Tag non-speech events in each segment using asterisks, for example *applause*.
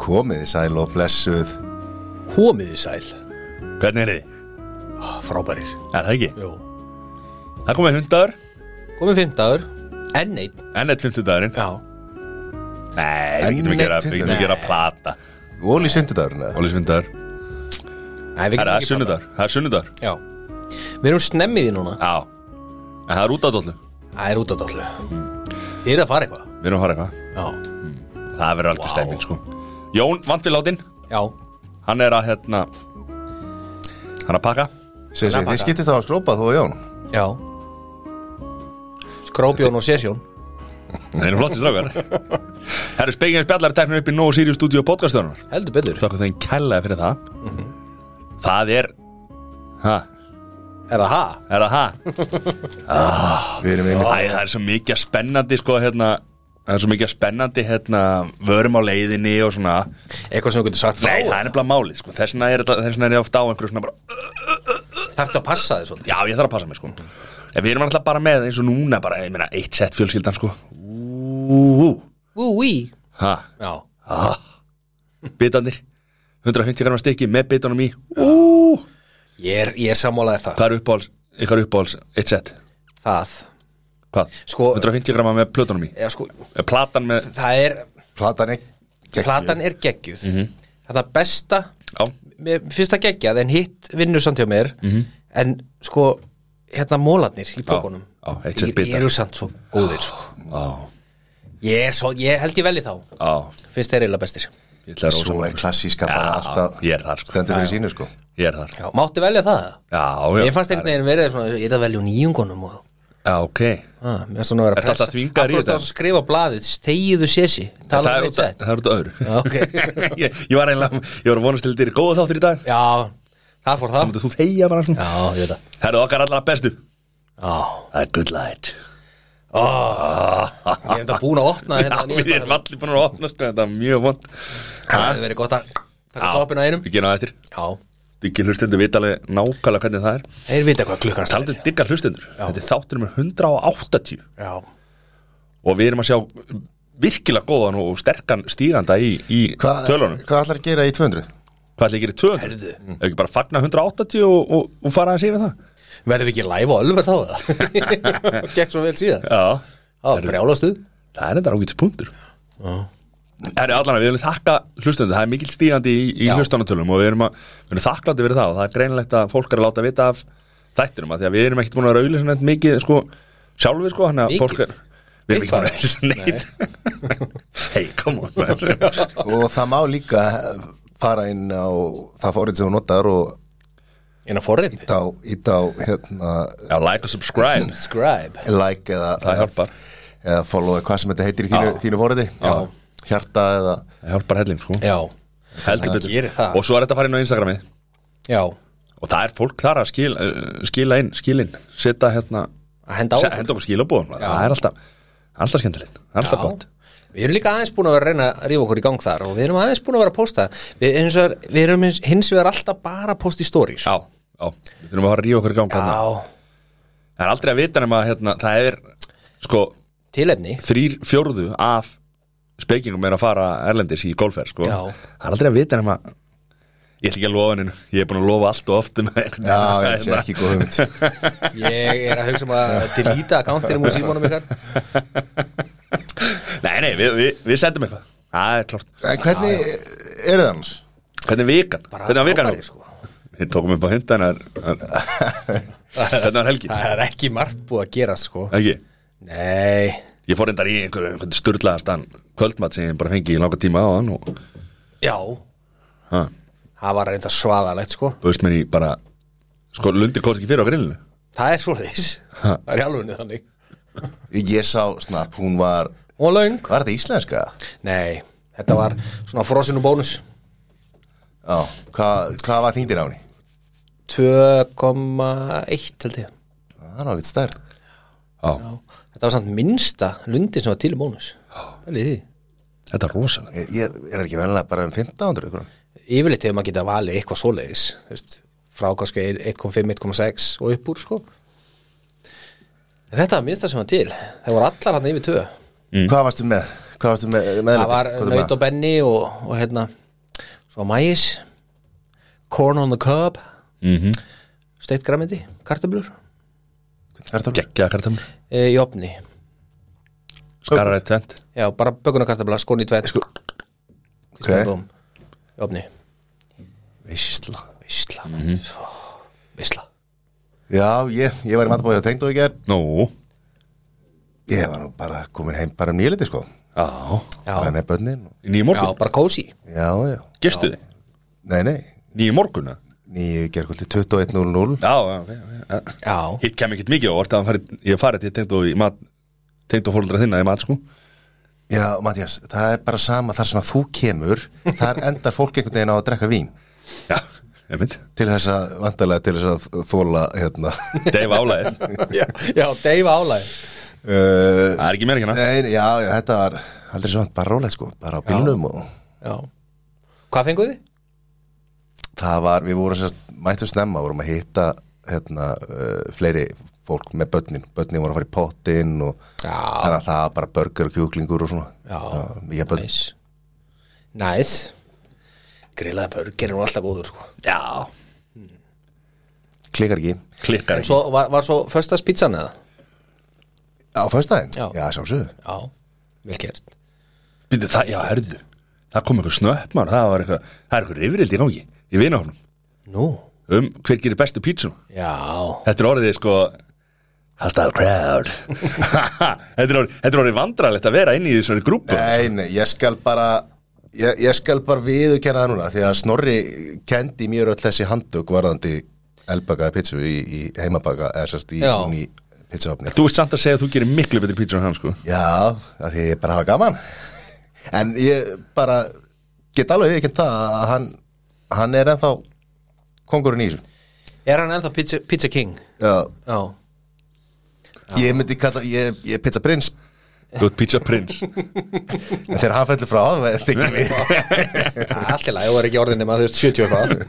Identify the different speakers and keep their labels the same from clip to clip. Speaker 1: Komiði sæl og blessuð
Speaker 2: Komiði sæl,
Speaker 3: Hvernig er þið?
Speaker 2: frábærir
Speaker 3: Er það ekki?
Speaker 2: Jó.
Speaker 3: Það komið hundagur,
Speaker 2: Komið fimmtagur, enn einn
Speaker 3: enn eitt fimmtudagurinn
Speaker 2: Já,
Speaker 3: Nei, við
Speaker 1: Enn
Speaker 3: getum
Speaker 1: einn
Speaker 3: að gera, við getum að gera plata
Speaker 1: Óli sundudagurinn eða?
Speaker 3: Ólis hundagur,
Speaker 2: Nei, við
Speaker 3: það
Speaker 2: getum ekki
Speaker 3: er
Speaker 2: bara-
Speaker 3: sunnudagur, það er sunnudagur
Speaker 2: Já, við erum snemmið í núna
Speaker 3: Já, en það er út af dollu
Speaker 2: Það er út að dollu Mm. Þið eru að fara eitthvað
Speaker 3: Við erum að fara eitthvað,
Speaker 2: Já,
Speaker 3: það verður alveg
Speaker 2: Vá.
Speaker 3: stemming sko Jón vant við látin,
Speaker 2: já,
Speaker 3: hann er að hérna Hann er að pakka
Speaker 1: Sér sér, þið skiptist á að skrópa þú og Jón
Speaker 2: já Skrópjón og sesjón
Speaker 3: Það eru flottir *laughs* strákar Það eru spekingar spjallar teknir upp í Nóa Sirius Studio podcastöðunar
Speaker 2: Heldur betur
Speaker 3: Þakka þeim kælega fyrir það Það er ha,
Speaker 2: Er það ha?
Speaker 3: Er það ha?
Speaker 1: Við erum einmitt
Speaker 3: Æ, það er svo mikið spennandi sko hérna Það er svo mikið spennandi hérna Vörum á leiðinni og svona
Speaker 2: Eitthvað sem þú getur sagt frá
Speaker 3: Nei, það er nefnilega málið sko Þess vegna er, þetta- þess vegna er ég oft á einhverju svona bara
Speaker 2: Þarftu að passa þið svolítið
Speaker 3: Já, ég þarf að passa mig sko En við erum alltaf bara með eins og núna bara Ég meina, eitt sett fjölskyldan sko Úú,
Speaker 2: Úi
Speaker 3: ha,
Speaker 2: Já,
Speaker 3: bitandir 150 gramma stykki með bitanum í
Speaker 2: ég er, ég er sammálaðið það
Speaker 3: Hvað er uppáhalds, ykkar uppáhalds, eitt sett?
Speaker 2: Það
Speaker 3: Hvað?
Speaker 2: Sko-
Speaker 3: 150 gramma með plötunum í?
Speaker 2: Já, sko,
Speaker 3: Er Platan með,
Speaker 2: það er
Speaker 1: platan ekki geggjuð.
Speaker 2: Platan er geggjuð Þetta besta
Speaker 3: já,
Speaker 2: mér finnst það geggjað en hitt vinnur samt hjá mér en sko hérna mólarnir í bókunum
Speaker 3: Mhm. já, eitt sem
Speaker 2: Ég-
Speaker 3: bitar.
Speaker 2: ég eru samt svo góðir sko.
Speaker 3: á,
Speaker 2: ég, er svo, ég held ég velji þá
Speaker 3: á,
Speaker 2: finnst þeir eiginlega bestir
Speaker 3: ég ætla að rosa
Speaker 1: Svo er klassíska
Speaker 3: Já,
Speaker 1: bara alltaf
Speaker 3: ég er þar, sko.
Speaker 1: Stendur fyrir sínu sko
Speaker 3: Ég er þar, já,
Speaker 2: já, máttu velja það?
Speaker 3: já
Speaker 2: ég fannst einhvern veginn verið svona ég er að velja úr nýjungunum og
Speaker 3: Já, ok
Speaker 2: Ah, mér finnst svona að vera
Speaker 3: Ertu
Speaker 2: pressa.
Speaker 3: alltaf þvingaður í
Speaker 2: Akkur ertu
Speaker 3: þetta?
Speaker 2: að skrifa blaðið, stegiðu sési
Speaker 3: Það
Speaker 2: tala
Speaker 3: er
Speaker 2: um
Speaker 3: út af-
Speaker 2: þetta
Speaker 3: það er út af öðru
Speaker 2: Já, ok.
Speaker 3: *laughs* ég, ég var einlega, ég var að vonast til þér góða þáttur í dag
Speaker 2: já, það fór það
Speaker 3: Þú- Þú þegja bara svona
Speaker 2: já, ég veit það
Speaker 3: Herðu okkar allra bestu
Speaker 2: já,
Speaker 3: Það er good light
Speaker 2: ég er þetta búin að opna
Speaker 3: Já,
Speaker 2: hérna
Speaker 3: við
Speaker 2: nýjasta-
Speaker 3: erum allir búin að opna sko, þetta er mjög vond
Speaker 2: það hefur verið gott að taka
Speaker 3: Já,
Speaker 2: toppin á einum
Speaker 3: Við gerum það eftir
Speaker 2: já,
Speaker 3: Ekki hlustendur vita alveg nákvæmlega hvernig það er
Speaker 2: þeir vita hvað klukkan er.
Speaker 3: Taldur digga hlustendur Þetta er þáttur með 180
Speaker 2: já,
Speaker 3: Og við erum að sjá virkilega góðan og sterkan stíganda í, í
Speaker 1: Hvað
Speaker 3: tölunum
Speaker 1: hva ætlar að gera í 200?
Speaker 3: Hvað ætlir að gera í 200? Ef ekki bara fagna 180 og, og, og fara að sé við það
Speaker 2: Verðum við ekki live og ölver þá *laughs* það? Gekk svo vel síðan
Speaker 3: Já
Speaker 2: Já, brjálastuð
Speaker 3: Það er þetta rákvæmt punktur Það er allan að við viljum þakka hlustendur, það er mikill stígandi í, í hlustanatölum og við erum, að, við erum þakklandi fyrir það og það er greinilegt að fólk er að láta vita af þættinum að því að við erum ekkert búin að raula svona mikið sko, sjálfur sko, hann að
Speaker 2: Mikið?
Speaker 3: fólk er Við erum ekki búin að
Speaker 2: Eitthvað?
Speaker 3: rauðlýsa neitt *laughs* Hei, come on man.
Speaker 1: Og það má líka eh, fara inn á það fórið sem þú notar og
Speaker 2: Inn á forrið
Speaker 1: þá ít á hérna
Speaker 3: Já, like og subscribe
Speaker 2: Subscribe
Speaker 1: like eða,
Speaker 3: Það hjálpar.
Speaker 1: eða follow eða hvað sem þetta heitir í þínu, þínu fóriði hjarta eða
Speaker 3: Það hjálpar helling sko
Speaker 2: Já,
Speaker 3: Heldur
Speaker 2: Það gerir það.
Speaker 3: betur Og svo er þetta að fara inn á Instagrami
Speaker 2: já
Speaker 3: og það er fólk þar að skila, eh, skila inn, skilin setja hérna,
Speaker 2: Að henda á
Speaker 3: se- henda okkur skilabóðum það er alltaf, alltaf skemmtilegt það er alltaf gott
Speaker 2: Já. Við erum líka aðeins búin að vera að reyna að rífa okkur í gang þar og við erum aðeins búin að vera að posta Við, eins og, við erum hins, hins vegar alltaf bara að posta í stories
Speaker 3: Já, já, við þurfum að fara að ríða okkur í gang hérna.
Speaker 2: já.
Speaker 3: Það er aldrei að vita nema að hérna, það er sko,
Speaker 2: tilefni
Speaker 3: þrýr fjórðu af spekingum er að fara erlendis í golfer sko.
Speaker 2: Já.
Speaker 3: Það er aldrei að vita nema ég ætla ekki að lofa hennu, ég er búin að lofa allt og oft um
Speaker 1: já, ég
Speaker 3: *laughs*
Speaker 1: sé ekki góð hugmynd
Speaker 2: Ég er að hugsa um að delita akkántinum úr símónum ykkar
Speaker 3: Nei, nei, við, við, við sendum eitthvað Það er klart
Speaker 1: En hvernig er það hans?
Speaker 3: Hvernig er vikan?
Speaker 2: Bara
Speaker 3: Hvernig var vikan?
Speaker 2: frábæri, sko.
Speaker 3: Við tókum upp á hundan Hvernig
Speaker 2: *laughs*
Speaker 3: var helgi?
Speaker 2: Það er ekki margt búið að gera sko
Speaker 3: Ekki?
Speaker 2: Nei,
Speaker 3: Ég fór endar í einhverju einhver styrlaðastan kvöldmatt sem ég bara fengi í langa tíma á hann og
Speaker 2: já
Speaker 3: ha,
Speaker 2: Það var reynda svaðalegt sko
Speaker 3: bauðst mér í bara sko, lundi komst ekki fyrir á grillinu
Speaker 2: Það er svoleiðis Það er í alvegni þannig
Speaker 1: Ég sá snart, hún var
Speaker 2: Og löng
Speaker 1: Var þetta íslenska?
Speaker 2: Nei, þetta var svona frosinu bónus
Speaker 1: Já, hvað hva var þýndir á henni?
Speaker 2: 2,1 held
Speaker 1: Það
Speaker 2: ég
Speaker 1: er náttúrulega stær
Speaker 3: Já,
Speaker 2: Þetta var samt minnsta lundin sem var til í bónus Velið því
Speaker 3: þetta er rosalega
Speaker 1: Ég, ég er ekki venlega bara um 1500 krónum.
Speaker 2: Yfirleitt hefur maður getað valið eitthvað svoleiðis þú veist, Frá kannski 1,5, 1,6 og upp úr sko En Þetta var minnsta sem var til Það voru allar hann yfir tvö
Speaker 3: Mm.
Speaker 1: Hvað varstu með? Hvað varstu með? með
Speaker 2: Það var Naut og Benny og, og hérna Svo Mæis Corn on the Cob
Speaker 3: mm -hmm.
Speaker 2: Steikt græmiti, kartablur
Speaker 1: Ertu
Speaker 3: Gekkja kartamur,
Speaker 2: e, Í opni
Speaker 3: skarar eitt tvent
Speaker 2: Já, bara bökunarkartabla, skon í tveit Sko
Speaker 1: Ok.
Speaker 2: Í opni
Speaker 1: Veistla
Speaker 2: Veisla mm -hmm. Veisla
Speaker 1: Já, ég, ég var í matabóðið og tengd og ég ger
Speaker 3: Nú,
Speaker 1: Ég var nú bara komin heim bara um nýleiti sko
Speaker 3: já,
Speaker 1: Bara
Speaker 2: Já,
Speaker 1: með börnin og-
Speaker 3: í nýju
Speaker 2: já
Speaker 3: morgun,
Speaker 2: bara kósi
Speaker 1: Já, já
Speaker 3: gistu þið
Speaker 1: Nei, nei
Speaker 3: Nýju morgun, eða?
Speaker 1: Nýju gerkvöldi 21.00
Speaker 3: já, já, já, já.
Speaker 2: Já,
Speaker 3: Hitt kem ekkert mikið á orð að hann fari, ég hef farið til tengd og í mat tengd og fóruldra þinna í mat sko
Speaker 1: Já, Mattias, það er bara sama þar sem að þú kemur Þar endar fólk einhvern veginn á að drekka vín
Speaker 3: Já, ég mynd,
Speaker 1: Til þess að, vantarlega til þess að þóla hérna *laughs*
Speaker 3: Dave *laughs* álæðir
Speaker 2: já, já Dave álæg
Speaker 1: uh,
Speaker 3: Það er ekki meira hérna. ekki hana
Speaker 1: Nei, já, já, þetta var aldrei svo hann bara rólegt sko, bara á bílnum og
Speaker 2: Já Hvað fenguð þið?
Speaker 1: það var, við vorum sérst, mættum snemma, vorum að hitta hérna, uh, fleiri fólk með börnin, börnin voru að fara í pottinn og
Speaker 2: Já,
Speaker 1: þannig að það var bara börgur og kjúklingur og svona,
Speaker 2: já
Speaker 1: það var mikið börn
Speaker 2: Næs Næs Grillaði börgir er nú alltaf góður sko
Speaker 3: Já,
Speaker 1: klikkar ekki,
Speaker 3: klikkar
Speaker 2: En
Speaker 3: ekki
Speaker 2: svo var, var svo föstas pizzan eða?
Speaker 1: á föstudaginn,
Speaker 2: Já.
Speaker 1: já, sjálfsögðu
Speaker 2: Já, vel gert
Speaker 3: Býttu, það, já, herðu Það kom eitthvað snöpp maður, það var eitthvað Það er eitthvað rifrildi í gangi, í vinahofnum
Speaker 2: Nú
Speaker 3: Um hver gerir bestu pítsun
Speaker 2: Já
Speaker 3: Þetta er orðið sko Hostile crowd *laughs* þetta, er orðið, þetta er orðið vandralegt að vera inn í þessari grúpu
Speaker 1: Nei, nei, ég skal bara ég, ég skal bara viðurkenna það núna því að Snorri kendi mér öll þessi handtök varðandi elbakaða pizzu í, í heimabaka, eða sérst í,
Speaker 2: Já.
Speaker 1: í pizzaofni
Speaker 3: Þú ert samt að segja að þú gerir miklu betri pítsun en hann sko
Speaker 1: Já, af því ég bara hafa gaman *laughs* En ég bara get alveg ekki það að hann, hann er ennþá kongurinn í þessu
Speaker 2: Er hann ennþá pizza, pizza king?
Speaker 1: Já,
Speaker 2: Já
Speaker 1: ég myndi kalla, ég, ég er pizza prins
Speaker 3: Þú ert pizza prins
Speaker 1: En þegar hann fellur frá,
Speaker 2: *laughs*
Speaker 1: það þykir við
Speaker 2: Ja, Allt í lagi, það er ekki orðin nema þú veist 70 og hvað *laughs*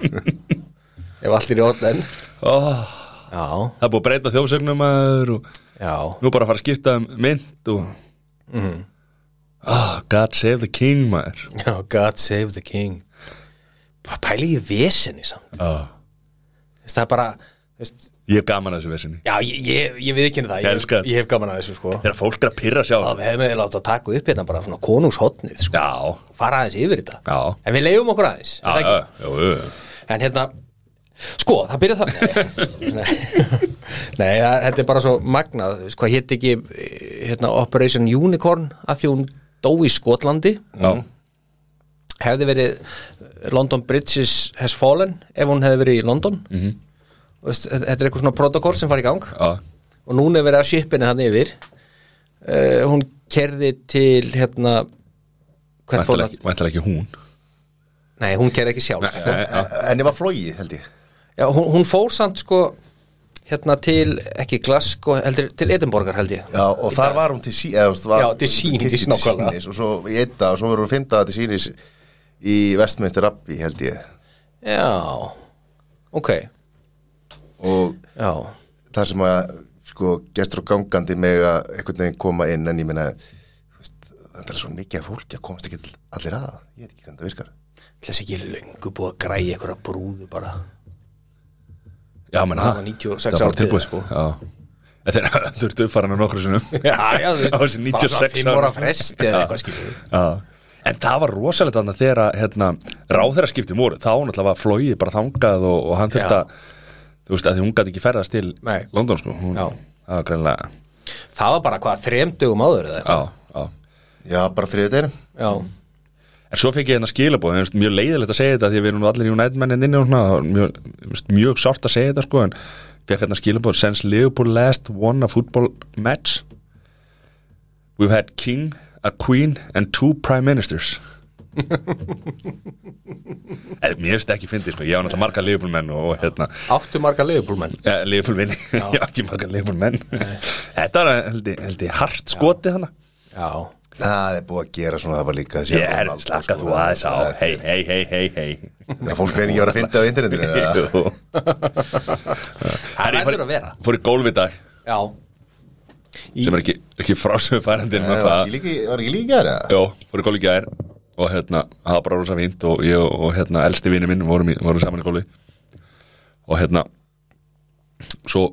Speaker 2: Ef allt er í orðin
Speaker 3: oh,
Speaker 2: Já,
Speaker 3: Það er búið að breyta þjófsögnum maður og
Speaker 2: já
Speaker 3: nú bara að fara að skipta um mynd og oh, God save the king maður
Speaker 2: Já, God save the king Bara Pæli ég vesinni samt
Speaker 3: oh.
Speaker 2: Þess, Það er bara þú veist,
Speaker 3: Ég er gaman að þessu vesinni
Speaker 2: Já, ég, ég, ég við ekki henni það
Speaker 3: Ég elska
Speaker 2: ég,
Speaker 3: það.
Speaker 2: ég hef gaman að þessu sko
Speaker 3: Þegar fólk er að pyrra sjá
Speaker 2: Það við hefum við láta að taka upp hérna bara svona konungshotnið sko
Speaker 3: Já,
Speaker 2: Fara aðeins yfir þetta
Speaker 3: já
Speaker 2: En við leiðum okkur aðeins er
Speaker 3: Já,
Speaker 2: það
Speaker 3: já,
Speaker 2: ekki?
Speaker 3: já, já,
Speaker 2: En hérna Sko, það byrja *laughs* það Nei, Nei það, þetta er bara svo magnað þú veist, Hvað hétt ekki eh, hérna, Operation Unicorn af því hún dó í Skotlandi
Speaker 3: já.
Speaker 2: hefði verið London Bridges has fallen ef hún hefði verið í London mm -hmm. veist, þetta þetta er eitthvað svona protokoll sem fari í gang
Speaker 3: já.
Speaker 2: og núna er verið að shippinni hann yfir uh, hún kerði til hérna hvert fór það?
Speaker 3: Væntanlega ekki- Væntanlega ekki hún
Speaker 2: Nei, hún kerði ekki sjálf sko.
Speaker 1: En ég var flogið, held ég
Speaker 2: Já, hún, hún fór samt sko hérna til, ekki Glasgow heldur, til Edinborgar held ég
Speaker 1: Já, og þar var hún til sí eða, þú veist, var,
Speaker 2: Já, til sýnis,
Speaker 1: til- til
Speaker 2: nákvæmlega.
Speaker 1: sýnis, Og svo í einn dag, og svo verður hún fimmta til sínis í vestmeinstir Abbi, held ég
Speaker 2: Já, ok
Speaker 1: Og
Speaker 2: Já,
Speaker 1: þar sem að, sko, gestur og gangandi með að einhvern veginn koma inn En ég meina, þú veist, það er svo mikið af fólki að komast ekki til allir að Ég veit ekki hvernig það virkar
Speaker 2: þessi ekki löngu búið að græja einhverja brúðu bara
Speaker 3: Já, menn
Speaker 2: Það var 96
Speaker 3: Það var
Speaker 2: ára
Speaker 3: tilbúið
Speaker 2: til,
Speaker 3: sko *laughs* Já Þetta er þurftu uppfaran að nokkru sinnum
Speaker 2: *laughs* Já, já, þú veist,
Speaker 3: Á þessi
Speaker 2: bara
Speaker 3: 96
Speaker 2: svona fimm
Speaker 3: ára.
Speaker 2: ára fresti eða
Speaker 3: Já.
Speaker 2: eitthvað skilur við.
Speaker 3: Já. En það var rosalegt þannig að þegar að, hérna, ráðherraskipti voru, þá náttúrulega var flóið bara þangað og, og hann
Speaker 2: Já.
Speaker 3: þurfti að þú veist að því hún gæti ekki ferðast til
Speaker 2: Nei.
Speaker 3: London sko, hún,
Speaker 2: Já.
Speaker 3: það var greinlega
Speaker 2: Það var bara hvað, þremdugum áður eða eitthvað
Speaker 3: já, já.
Speaker 1: Já, bara þriðu deginu
Speaker 2: Já,
Speaker 3: En svo fekk ég hérna skilabóð, en þú veist, mjög leiðilegt að segja þetta því að við erum nú allir United mennin inni og svona það var mjög, þú veist, mjög sárt að segja þetta sko en fekk hérna skilabóð, since Liverpool last won a football match we've had king, a queen and two prime ministers En mér finnst ekki fyndið sko, ég á náttúrulega marga Liverpool menn og, og hérna
Speaker 2: áttu marga leifbúlmenn
Speaker 3: Ja, Leifur vinni, *laughs* já, ekki marga Leifur menn Þetta var held ég- held ég hart skotið hana
Speaker 2: Já,
Speaker 1: Það er búið að gera svona, það var líka
Speaker 3: Ég er slaka þú aðeins á Hei, hei, hei, hei, hei
Speaker 1: sko. Það fólk reyni ekki að vera að finna á internetinu
Speaker 3: *laughs*
Speaker 1: eða?
Speaker 3: Jú. Herri, ég
Speaker 2: verður að vera.
Speaker 3: fór í gólf í dag
Speaker 2: já Í-
Speaker 3: sem er ekki, ekki frásöfærandi
Speaker 1: Nei, varstu ekki líka í- Var ekki líka gæri?
Speaker 3: Jó, fór í góli gær og hérna, það var bara rosa fínt og ég og, og hérna, elsti vini minn vorum, í- vorum saman í góli og hérna svo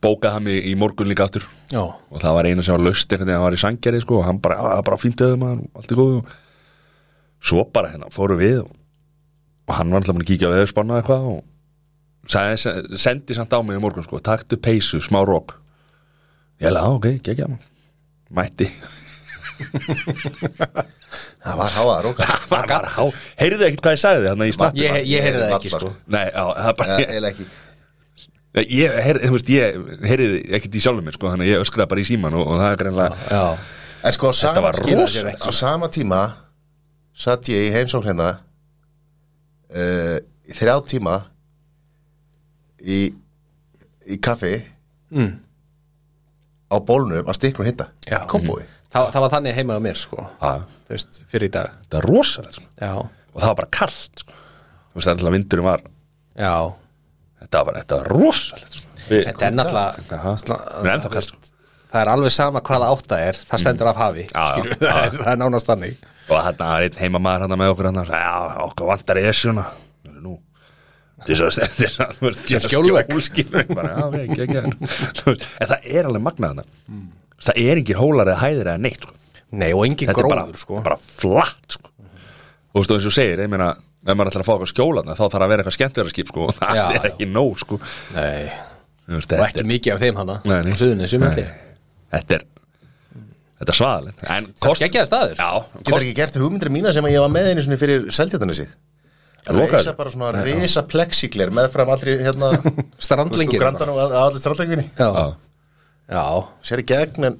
Speaker 3: bókaði hann mig í morgun líka aftur
Speaker 2: *laughs* Já,
Speaker 3: og það var eina sem var löst einhvern veginn, hann var í sangjari sko og hann bara, að, bara fínt eða maður, og allt í góðu og svo bara hérna, fórum við og, og hann var alltaf búin að kíkja við spanna eitthvað og sagði, se- sendi samt á mig í morgun sko, taktu peysu, smá rók ég hefði, ok, gekkja maður mætti *laughs*
Speaker 1: Það var háaðar
Speaker 3: *laughs*
Speaker 1: og
Speaker 3: Það var há Heyrðu ekkert hvað ég sagði þarna í snappi
Speaker 2: ég, ég heyrði það
Speaker 1: Varla,
Speaker 2: ekki sko
Speaker 1: sko.
Speaker 3: Nei, á, það er bara
Speaker 1: Eða eiginlega
Speaker 3: Ég,
Speaker 1: ekki
Speaker 3: ég, heyrði, þú veist, ég heyrði ekkert í sjálfum mér sko Þannig að ég öskraði bara í síman og, og það er greinlega
Speaker 2: Já,
Speaker 1: En sko á sama,
Speaker 3: var
Speaker 1: tíma,
Speaker 3: rosa.
Speaker 1: á sama tíma satt ég í heimsókn hérna uh, í þrjá tíma í, í kaffi mm. á bólnum að stikkur hitta
Speaker 2: já.
Speaker 1: Kómbói
Speaker 2: Mm. Það, það var þannig heima á mér sko
Speaker 3: Það
Speaker 2: Þú veist, fyrir í dag
Speaker 3: það er rosalegt sko.
Speaker 2: Já,
Speaker 3: Og það var bara kallt sko. Þú veist, alltaf vindurum var
Speaker 2: já
Speaker 3: Þetta var bara, þetta var rosalegt sko. Við-
Speaker 2: Þetta er náttúrulega
Speaker 3: Aha. Við erum ennþá kallt sko. Mm.
Speaker 2: Það er alveg sama hvaða átta er Það stendur af hafi
Speaker 3: já,
Speaker 2: skilurðu, það, er, *laughs* það er nánast þannig
Speaker 3: Og þarna var einn heimamaður hann með okkur hann sagði, já, okkur vantar í þessuna Nú Til *laughs* þess að- til þess að, þú veist, gera
Speaker 2: skjólvegg.
Speaker 3: skjól, skilurðu, bara, já, ok, ekki, ekki. *laughs* Þú veist, En það er alveg magnað þarna Það er engir hólar eða hæðir eða neitt sko.
Speaker 2: Nei, og engin
Speaker 3: Þetta er bara,
Speaker 2: gróður sko
Speaker 3: bara flatt sko. Og þú veist, og eins og þú segir, ég meina Ef maður ætlar að fá eitthvað skjólaðna þá þarf að vera eitthvað skemmtverðar skip sko, *laughs* og það
Speaker 2: Já,
Speaker 3: er
Speaker 2: já.
Speaker 3: ekki nóg sko.
Speaker 2: Nei,
Speaker 3: Þú veist,
Speaker 2: og
Speaker 3: þetta,
Speaker 2: ekki mikið af þeim hana
Speaker 3: Nei, nei.
Speaker 2: Suðunni sem allir
Speaker 3: er- þetta er Þetta er svaðalegt En
Speaker 2: Það er geggjaði staður
Speaker 3: Já,
Speaker 1: Getur ekki gert hugmyndir mína sem að ég var með einu svona fyrir seldjartanesi Reisa
Speaker 3: lokaður.
Speaker 1: bara svona reisa plexigler meðfram allri hérna
Speaker 2: Strandlengir
Speaker 1: Grandan og að- að allir strandlenginni
Speaker 2: Já,
Speaker 3: Já.
Speaker 2: já
Speaker 1: Sér í gegn en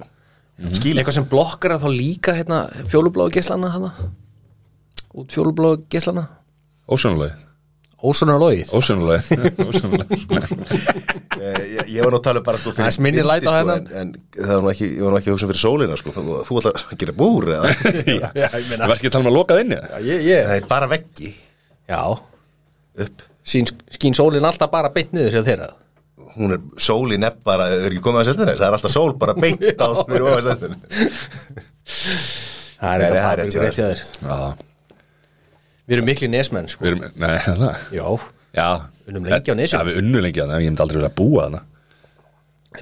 Speaker 1: skýl
Speaker 2: eitthvað sem blokkar þá líka hérna, fjólubláu geislana hana. út fjólubláu geislana
Speaker 3: Ósjónulegð
Speaker 2: ósonar logið
Speaker 3: *laughs* Ósjónulegð Ósjónulegð
Speaker 1: Eh, ég, ég var nú að tala um bara sko, fyrir
Speaker 2: Aðeins minni
Speaker 1: bindi,
Speaker 2: læt á hérna.
Speaker 1: sko,
Speaker 2: hennar.
Speaker 1: en, en það var nú ekki, ég var nú ekki að hugsa fyrir sólina sko, þú, þú ætlar að gera búr eða
Speaker 3: Já,
Speaker 2: *laughs* Já,
Speaker 3: ég
Speaker 2: ég
Speaker 3: meina
Speaker 2: meina-
Speaker 3: Þú varst ekki að tala um að loka þinni
Speaker 2: já, ég, ég.
Speaker 1: það er bara veggi
Speaker 2: já.
Speaker 1: upp
Speaker 2: Sín, skín sólin alltaf bara beint niður hjá þeirra
Speaker 1: hún er sólin epp bara, þau eru ekki komið að setja það er alltaf sól bara beint
Speaker 2: *laughs*
Speaker 1: á fyrir ofan setjana Nei,
Speaker 2: það er eitthvað
Speaker 1: það er rétt hjá
Speaker 2: paprikur
Speaker 1: þér.
Speaker 2: eitt hjá þér
Speaker 3: Já,
Speaker 2: við erum miklu nesmenn sko
Speaker 3: við erum, nei, það
Speaker 2: já,
Speaker 3: Já
Speaker 2: Unnum lengi á Nesinu.
Speaker 3: Já, við unnum lengi á nesinu, ég myndi aldrei vilja búa þarna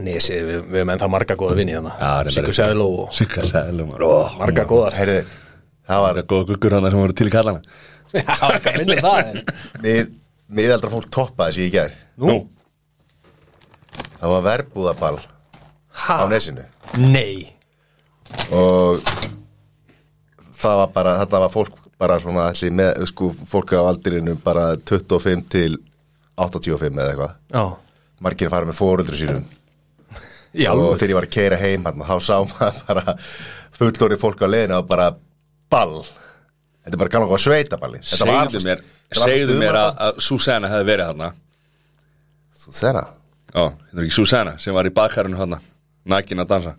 Speaker 2: nesi, við, við erum ennþá marga góða vinni
Speaker 3: Já,
Speaker 2: hana
Speaker 3: reyndar
Speaker 2: Sigur
Speaker 3: er-
Speaker 2: Sæðló og
Speaker 3: Sikkar sælum Ó,
Speaker 2: marga góðar
Speaker 1: Heyrðu, það var
Speaker 3: marga góða guggur hana sem voru til í kallana
Speaker 2: já, hvað minnir *laughs* það en-
Speaker 1: mið, miðaldra fólk toppaði sér í gær
Speaker 3: Nú,
Speaker 1: það var verbúðaball
Speaker 2: ha,
Speaker 1: á nesinu
Speaker 2: nei
Speaker 1: og það var bara, þetta var fólk bara svona allir með, sko, fólk á aldrinum bara 25 til 85 eða eitthvað
Speaker 2: já,
Speaker 1: margir að fara með fóröldru sínum
Speaker 2: já
Speaker 1: og þegar ég var að keira heim hann, þá sá maður bara fullorið fólk á leiðinu og bara ball þetta er bara gaman að sveitaballi Þetta var
Speaker 3: segðu
Speaker 1: alltaf-
Speaker 3: mér
Speaker 1: þetta var alltaf
Speaker 3: Segðu mér
Speaker 1: stuðmanna-
Speaker 3: að að Susanna hefði verið hana
Speaker 1: Þú segir það
Speaker 3: Ó, þetta er ekki Susanna sem var í bakkarinu hana Nækin að dansa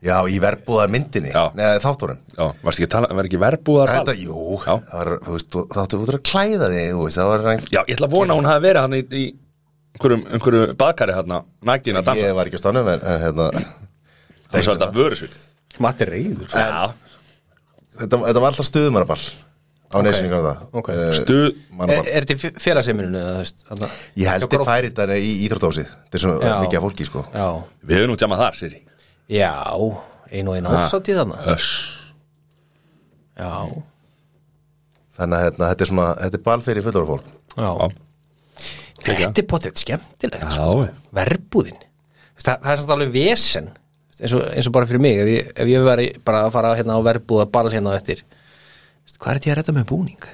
Speaker 1: Já, í verbúðar myndinni,
Speaker 3: Já.
Speaker 1: neða þátturinn
Speaker 3: Já, varst ekki að tala, var ekki verbúðar
Speaker 1: Þetta, jú,
Speaker 3: Já.
Speaker 1: það var, þú veist, þú- þá áttu út að klæða þig, þú veist, það var reynd
Speaker 3: Já, ég ætla að vona að hún hefði verið hana í, í einhverjum, einhverju bakkari hana Nækin að dansa
Speaker 1: Ég var ekki á stannum, en, en hérna
Speaker 3: Það er svolítið að vöru
Speaker 2: Matti reyður sko.
Speaker 3: Já,
Speaker 1: þetta, þetta var alltaf stuðumannaball á okay. nesinu kannar það
Speaker 2: Ok.
Speaker 3: stuð
Speaker 2: er, er þetta félagseiminu
Speaker 3: eh.
Speaker 1: Ég held ég færi þetta í íþrótdósið Þetta er svona
Speaker 2: Já.
Speaker 1: mikið af fólki, sko
Speaker 2: já,
Speaker 3: Við höfum nú tjámað þar, Siri
Speaker 2: já ein og ein ásatíð þarna
Speaker 3: Öss
Speaker 2: Já,
Speaker 1: Þannig að hérna, þetta er svona, þetta er ball fyrir fullorða fólk
Speaker 3: Já.
Speaker 2: já. Þetta er potið skemmtilegt sko.
Speaker 3: Já,
Speaker 2: Verbúðin Þú veist, það, það er samt alveg vesen eins og, eins og bara fyrir mig Ef ég, ef ég veri bara að fara hérna á verbúða ball hérna á eftir Þú veist, Hvað er þetta ég að redda með búning?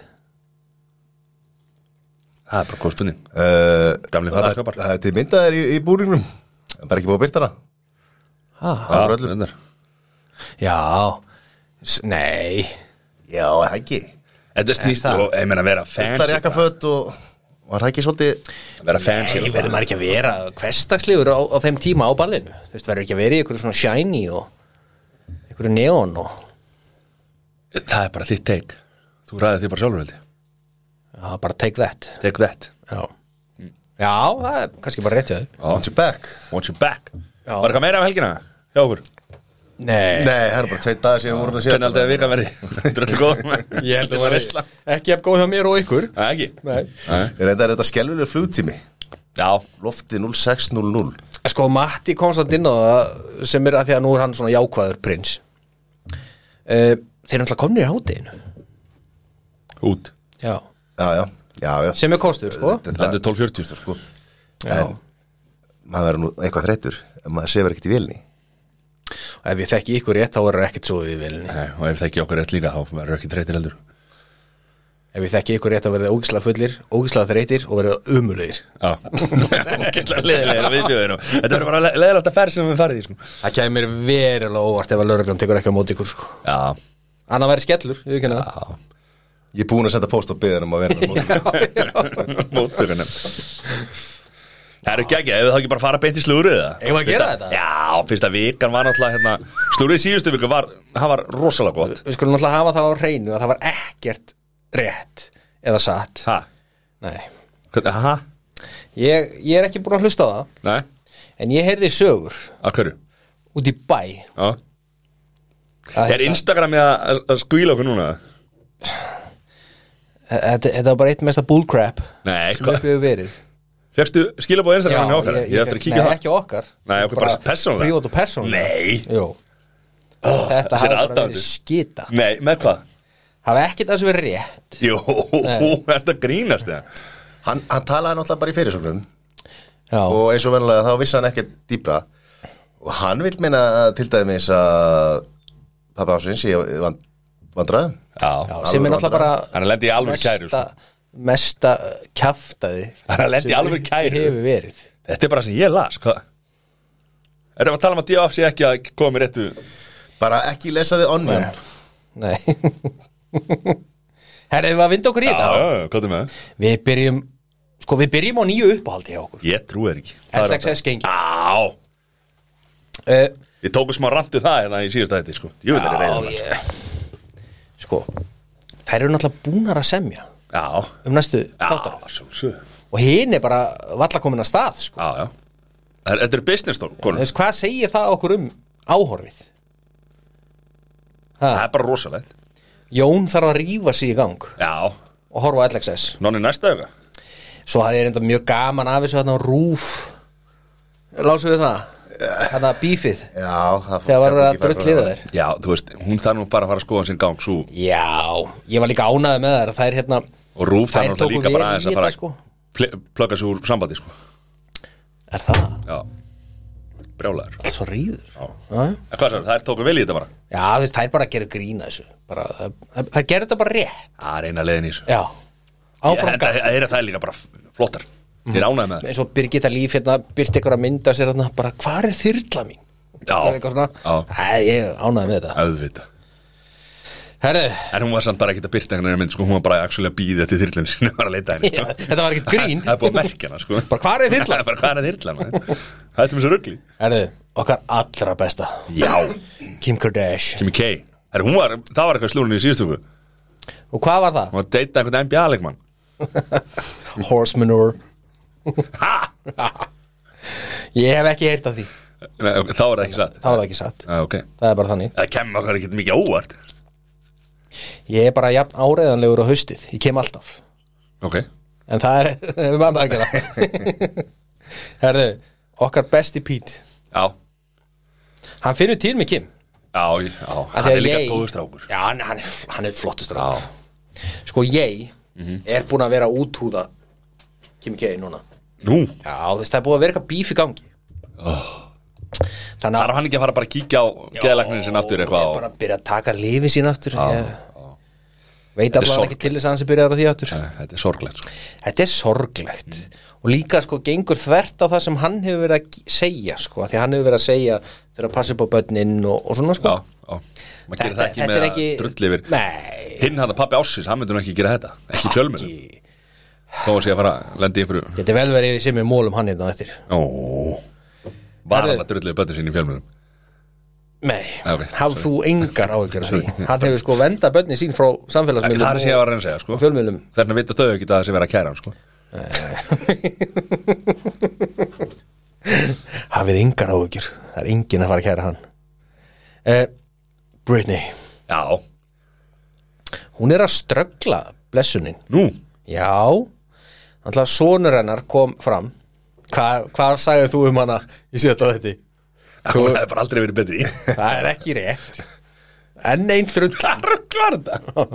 Speaker 3: það er bara kortunni
Speaker 1: uh,
Speaker 3: Gamli fataskápar.
Speaker 1: Þetta er myndaðir í, í búringnum Bara ekki búið að byrta hana
Speaker 2: Ha?
Speaker 1: Það var öllum.
Speaker 3: röllur
Speaker 2: Já, S nei
Speaker 1: Já, er það ekki
Speaker 3: Þetta er snýst
Speaker 2: það?
Speaker 3: og, ég meina, vera
Speaker 1: Það er
Speaker 3: fancy
Speaker 1: jakkaföt og Var það ekki svolítið
Speaker 3: Vera fancy
Speaker 2: Nei, verður maður ekki að vera hverstagslegur á, á þeim tíma á ballinu Þú veist, verður ekki að vera í einhverju svona shiny og einhverju neon og
Speaker 3: Það er bara þitt take Þú ræðir því bara sjálfur held ég
Speaker 2: já, bara take that
Speaker 3: Take that
Speaker 2: Já, já það er kannski bara rétt hjá þér
Speaker 1: On your back
Speaker 3: Watch your back
Speaker 2: Já.
Speaker 3: Var eitthvað meira af helgina? Hjá okkur
Speaker 2: Nei,
Speaker 1: Nei, það er bara tveit dagar síðan við vorum að
Speaker 3: Hvernig
Speaker 1: síðast
Speaker 3: aldrei að vika verði? *laughs* Dröldu góð Ég held að það var veistla
Speaker 2: ekki að góð hjá mér og ykkur
Speaker 3: Nei, ekki
Speaker 2: Nei.
Speaker 3: Nei.
Speaker 1: Reyndar er þetta skelvilega flugtími
Speaker 3: Já,
Speaker 1: Lofti 0600
Speaker 2: Sko, Matti komst inn á það sem er að því að nú er hann svona jákvæður prins uh, Þeir eru alltaf komnir í hátinu
Speaker 3: út
Speaker 2: Já,
Speaker 1: Já, já, já, já
Speaker 2: sem er kostur, sko
Speaker 3: Lendu 12.40 stór, sko
Speaker 2: Já.
Speaker 1: Maður verður nú eitthvað þreyttur En maður sefur ekkert í vélni
Speaker 2: Og Ef ég þekki ykkur rétt, þá verður ekkert svo við vilinni
Speaker 3: Nei, og ef það ekki okkur rétt líka þá verður ekki treytir heldur
Speaker 2: Ef ég þekki ykkur rétt, þá verður ógislega fullir, ógislega þreytir og verður umulugir
Speaker 3: Já, *laughs* ógæslega leðilega viðbjöðir og þetta verður bara leðilega alltaf ferð sem við farið í sko.
Speaker 2: Það kemur verulega óvart ef að lögreglan tekur ekki á móti ykkur, sko
Speaker 3: Já,
Speaker 2: Annað væri skellur, ég ekki hana
Speaker 1: Ég er búin að senda post á byðan um að vera með móti.
Speaker 3: *laughs* mótur hennar Það eru ekki ekki, ef það ekki bara fara beint í slúrið eða?
Speaker 2: Eigum við að gera
Speaker 3: Fyrsta-
Speaker 2: þetta?
Speaker 3: Já, fyrsta vikan var náttúrulega hérna, slúrið síðustu viku var, það var rosalega gott
Speaker 2: Við skulum alltaf hafa það á hreinu að það var ekkert rétt eða satt
Speaker 3: Ha?
Speaker 2: Nei,
Speaker 3: Hvernig, ha?
Speaker 2: ég, ég er ekki búin að hlusta á það
Speaker 3: Nei?
Speaker 2: En ég heyrði sögur
Speaker 3: Að hverju?
Speaker 2: út í bæ
Speaker 3: Já
Speaker 2: að
Speaker 3: Er Instagramið að- að að skvíla okkur núna?
Speaker 2: Þetta þetta var bara eitt mesta bullcrap
Speaker 3: Nei,
Speaker 2: sem
Speaker 3: hvað?
Speaker 2: upp hefur verið
Speaker 3: Fjöxtu skilabóð Instagramið okkar? Ég, ég eftir að kíkja
Speaker 2: nei,
Speaker 3: það
Speaker 2: ekki okkar
Speaker 3: Nei, okkur bara persónulega.
Speaker 2: Prívat og persónulega
Speaker 3: Nei.
Speaker 2: Jú Þetta
Speaker 3: sér
Speaker 2: hafi bara
Speaker 3: aðdáendur.
Speaker 2: verið skita
Speaker 3: Nei, með hvað?
Speaker 2: Hafi ekkert að þessu verið rétt
Speaker 3: Jú, *laughs* þetta grínast eða?
Speaker 1: Hann, hann talaði náttúrulega bara í fyrirsögnum
Speaker 2: Já,
Speaker 1: og eins og venlega þá vissi hann ekkert dýbra og hann vil minna til dæmis að pappa ásins í vand, vandræðum
Speaker 3: Já,
Speaker 2: sem er náttúrulega bara
Speaker 3: hann er lendið í alveg kæru sko.
Speaker 2: mesta, mesta kjaftaði
Speaker 3: Hann er lent í
Speaker 2: sem
Speaker 3: alvöru kæru.
Speaker 2: hefur verið
Speaker 3: Þetta er bara sem ég las hvað? Þetta var að tala um að D.A.F. sé ekki að koma með réttu
Speaker 1: bara ekki lesa þið onnjum
Speaker 2: Nei *laughs* Herra, við að vinda okkur í
Speaker 3: Já,
Speaker 2: þetta
Speaker 3: já, hvað er með það?
Speaker 2: Við byrjum Sko, við byrjum á nýju uppáhaldi hjá okkur
Speaker 3: Ég trúi þér ekki Það Ah, er
Speaker 2: LXS gengi
Speaker 3: alltaf- Já,
Speaker 2: uh,
Speaker 3: ég tóku smá randu það hérna í síðust aðeins sko. Ég vil þetta
Speaker 2: Já,
Speaker 3: reyða
Speaker 2: ég Sko, þær eru náttúrulega búnar að semja
Speaker 3: Já,
Speaker 2: um næstu þáttar
Speaker 3: já, sjálfsögðu.
Speaker 2: og hinn er bara valla komin að stað sko.
Speaker 3: já, já Það- Þetta er business tón,
Speaker 2: Þú
Speaker 3: konum
Speaker 2: veist, hvað segir það okkur um áhorfið
Speaker 3: Það er bara rosalegt
Speaker 2: Jón þarf að rífa sig í gang
Speaker 3: Já,
Speaker 2: og horfa á LXS
Speaker 3: nonni næsta auka
Speaker 2: Svo hafði ég reynda mjög gaman af þessu hérna á rúf Lásum við það Hérna bífið
Speaker 1: já, það
Speaker 2: Þegar var að drullið þeir
Speaker 3: Já, þú veist, hún þarf nú bara að fara að skoða sinn gang svo
Speaker 2: Já, ég var líka ánaði með þær Þær hérna
Speaker 3: og rúf
Speaker 2: Þær
Speaker 3: þarf náttúrulega
Speaker 2: tóku
Speaker 3: líka bara
Speaker 2: vel
Speaker 3: aðeins
Speaker 2: í
Speaker 3: að fara
Speaker 2: þetta, sko.
Speaker 3: að plugga sig úr sambandi sko.
Speaker 2: Er það?
Speaker 3: Já, brjálæður
Speaker 2: Allt Svo rýður
Speaker 3: Já.
Speaker 2: Já,
Speaker 3: En Hvað sagði, þær tóku vel í þetta bara?
Speaker 2: Já, þú veist, þær bara gerir grína þessu bara, það, það, það gerir þetta bara rétt
Speaker 3: Það er eina leiðin í þessu
Speaker 2: Já,
Speaker 3: Ég-
Speaker 2: áfram Mm.
Speaker 3: Þetta
Speaker 2: gaf
Speaker 3: það er að það er líka bara flottar Ég er ánægð með það
Speaker 2: eins og Birgitta Líf hérna byrst ykkur að mynda sér hérna bara hvar er þyrla mín? Það er
Speaker 3: Já,
Speaker 2: eitthvað svona
Speaker 3: Já.
Speaker 2: Æ, ég ánaði með þetta
Speaker 3: auðvitað
Speaker 2: Herðu,
Speaker 3: En hún var samt bara ekkert að byrta einhvern mynd sko, hún var bara actually að býða til þyrlunni sinni og var að leita henni
Speaker 2: Já, þetta var ekkert grín.
Speaker 3: Það er búið að merkja hana sko
Speaker 2: bara hvar er þyrla?
Speaker 3: *laughs* Það er bara hvað er þyrlan Þetta er með svo ruggli
Speaker 2: Herðu, okkar allra besta
Speaker 3: Já,
Speaker 2: Kim Kardashian
Speaker 3: Kimi K Her, var, Það var eitthvað slúrunni í síðustu viku.
Speaker 2: Og hvað var það?
Speaker 3: Hún var að deyta einhvern NBA-leikmann
Speaker 2: Horse manure
Speaker 3: Ha?
Speaker 2: *laughs* Ég hef ekki heyrt af því
Speaker 3: Nei, ok, Þá var það ekki satt
Speaker 2: Það var það ekki satt
Speaker 3: ah, okay.
Speaker 2: Það er bara þannig
Speaker 3: Það kemur okkur ekkert mikið óvart
Speaker 2: Ég er bara jafn áreðanlegur á haustið Ég kem alltaf
Speaker 3: Ok
Speaker 2: En það er *laughs* Við mannum ekki það
Speaker 3: *laughs*
Speaker 2: Herðu Okkar besti Pete
Speaker 3: Já,
Speaker 2: Hann finnur til með Kim
Speaker 3: já, já
Speaker 2: Af
Speaker 3: Hann
Speaker 2: því
Speaker 3: er
Speaker 2: að
Speaker 3: líka
Speaker 2: ég-
Speaker 3: góður strákur
Speaker 2: Já, hann, hann, er- hann er flottur strákur Sko ég
Speaker 3: Mhm.
Speaker 2: Er búin að vera að úthúða Kim K núna
Speaker 3: Nú,
Speaker 2: Já, þú veist það er búið að vera eitthvað bíf í gangi
Speaker 3: Oh.
Speaker 2: Þannig að
Speaker 3: þarf hann ekki að fara bara að kíkja á geðlagnin sinna aftur
Speaker 2: Ég
Speaker 3: eitthvað
Speaker 2: er
Speaker 3: og-
Speaker 2: bara að byrja að taka lifi sín aftur Ég veit
Speaker 3: Þetta
Speaker 2: allavega
Speaker 3: er
Speaker 2: ekki
Speaker 3: sorglegt.
Speaker 2: til þess að hann sem byrjar að því aftur
Speaker 3: Æ, Þetta er sorglegt sko.
Speaker 2: Þetta er sorglegt
Speaker 3: Mm.
Speaker 2: og líka sko gengur þvert á það sem hann hefur verið að g- segja sko, af því að hann hefur verið að segja þegar að passa upp á börnin og, og svona sko
Speaker 3: Já, já Maður gerir það ekki með að drull yfir
Speaker 2: Nei,
Speaker 3: Hinn hann að pappi Ássins, hann myndur ekki gera þetta Ekki fjölmjölu Þó að sé að fara að lendi ykkur
Speaker 2: getur vel verið sem er mólum hann hérna á eftir
Speaker 3: Ó Var
Speaker 2: Herðu.
Speaker 3: hann að drulliði böttu sinni í fjölmjölum
Speaker 2: Nei,
Speaker 3: Já, ok,
Speaker 2: hafðu þú engar áhyggjur af því Hann hefur sko venda börnin sín frá
Speaker 3: Það
Speaker 2: samfélagsmiðlum
Speaker 3: er sem ég var að reyna að segja sko.
Speaker 2: og fjölmiðlum
Speaker 3: Þarna vita þau ekki að það sé vera að kæra hann sko.
Speaker 2: Ha, hafið engar áhugjur það er enginn að fara að kæra hann eh, Britney
Speaker 3: Já,
Speaker 2: hún er að ströggla blessunin
Speaker 3: nú
Speaker 2: já, þannig að sonur hennar kom fram Hva, hvað sagðið þú um hana í síðasta þetta?
Speaker 3: Það hefur bara aldrei verið betri
Speaker 2: *laughs* það er ekki rétt enn einn
Speaker 3: *laughs*
Speaker 2: drullar
Speaker 3: Rugglar þetta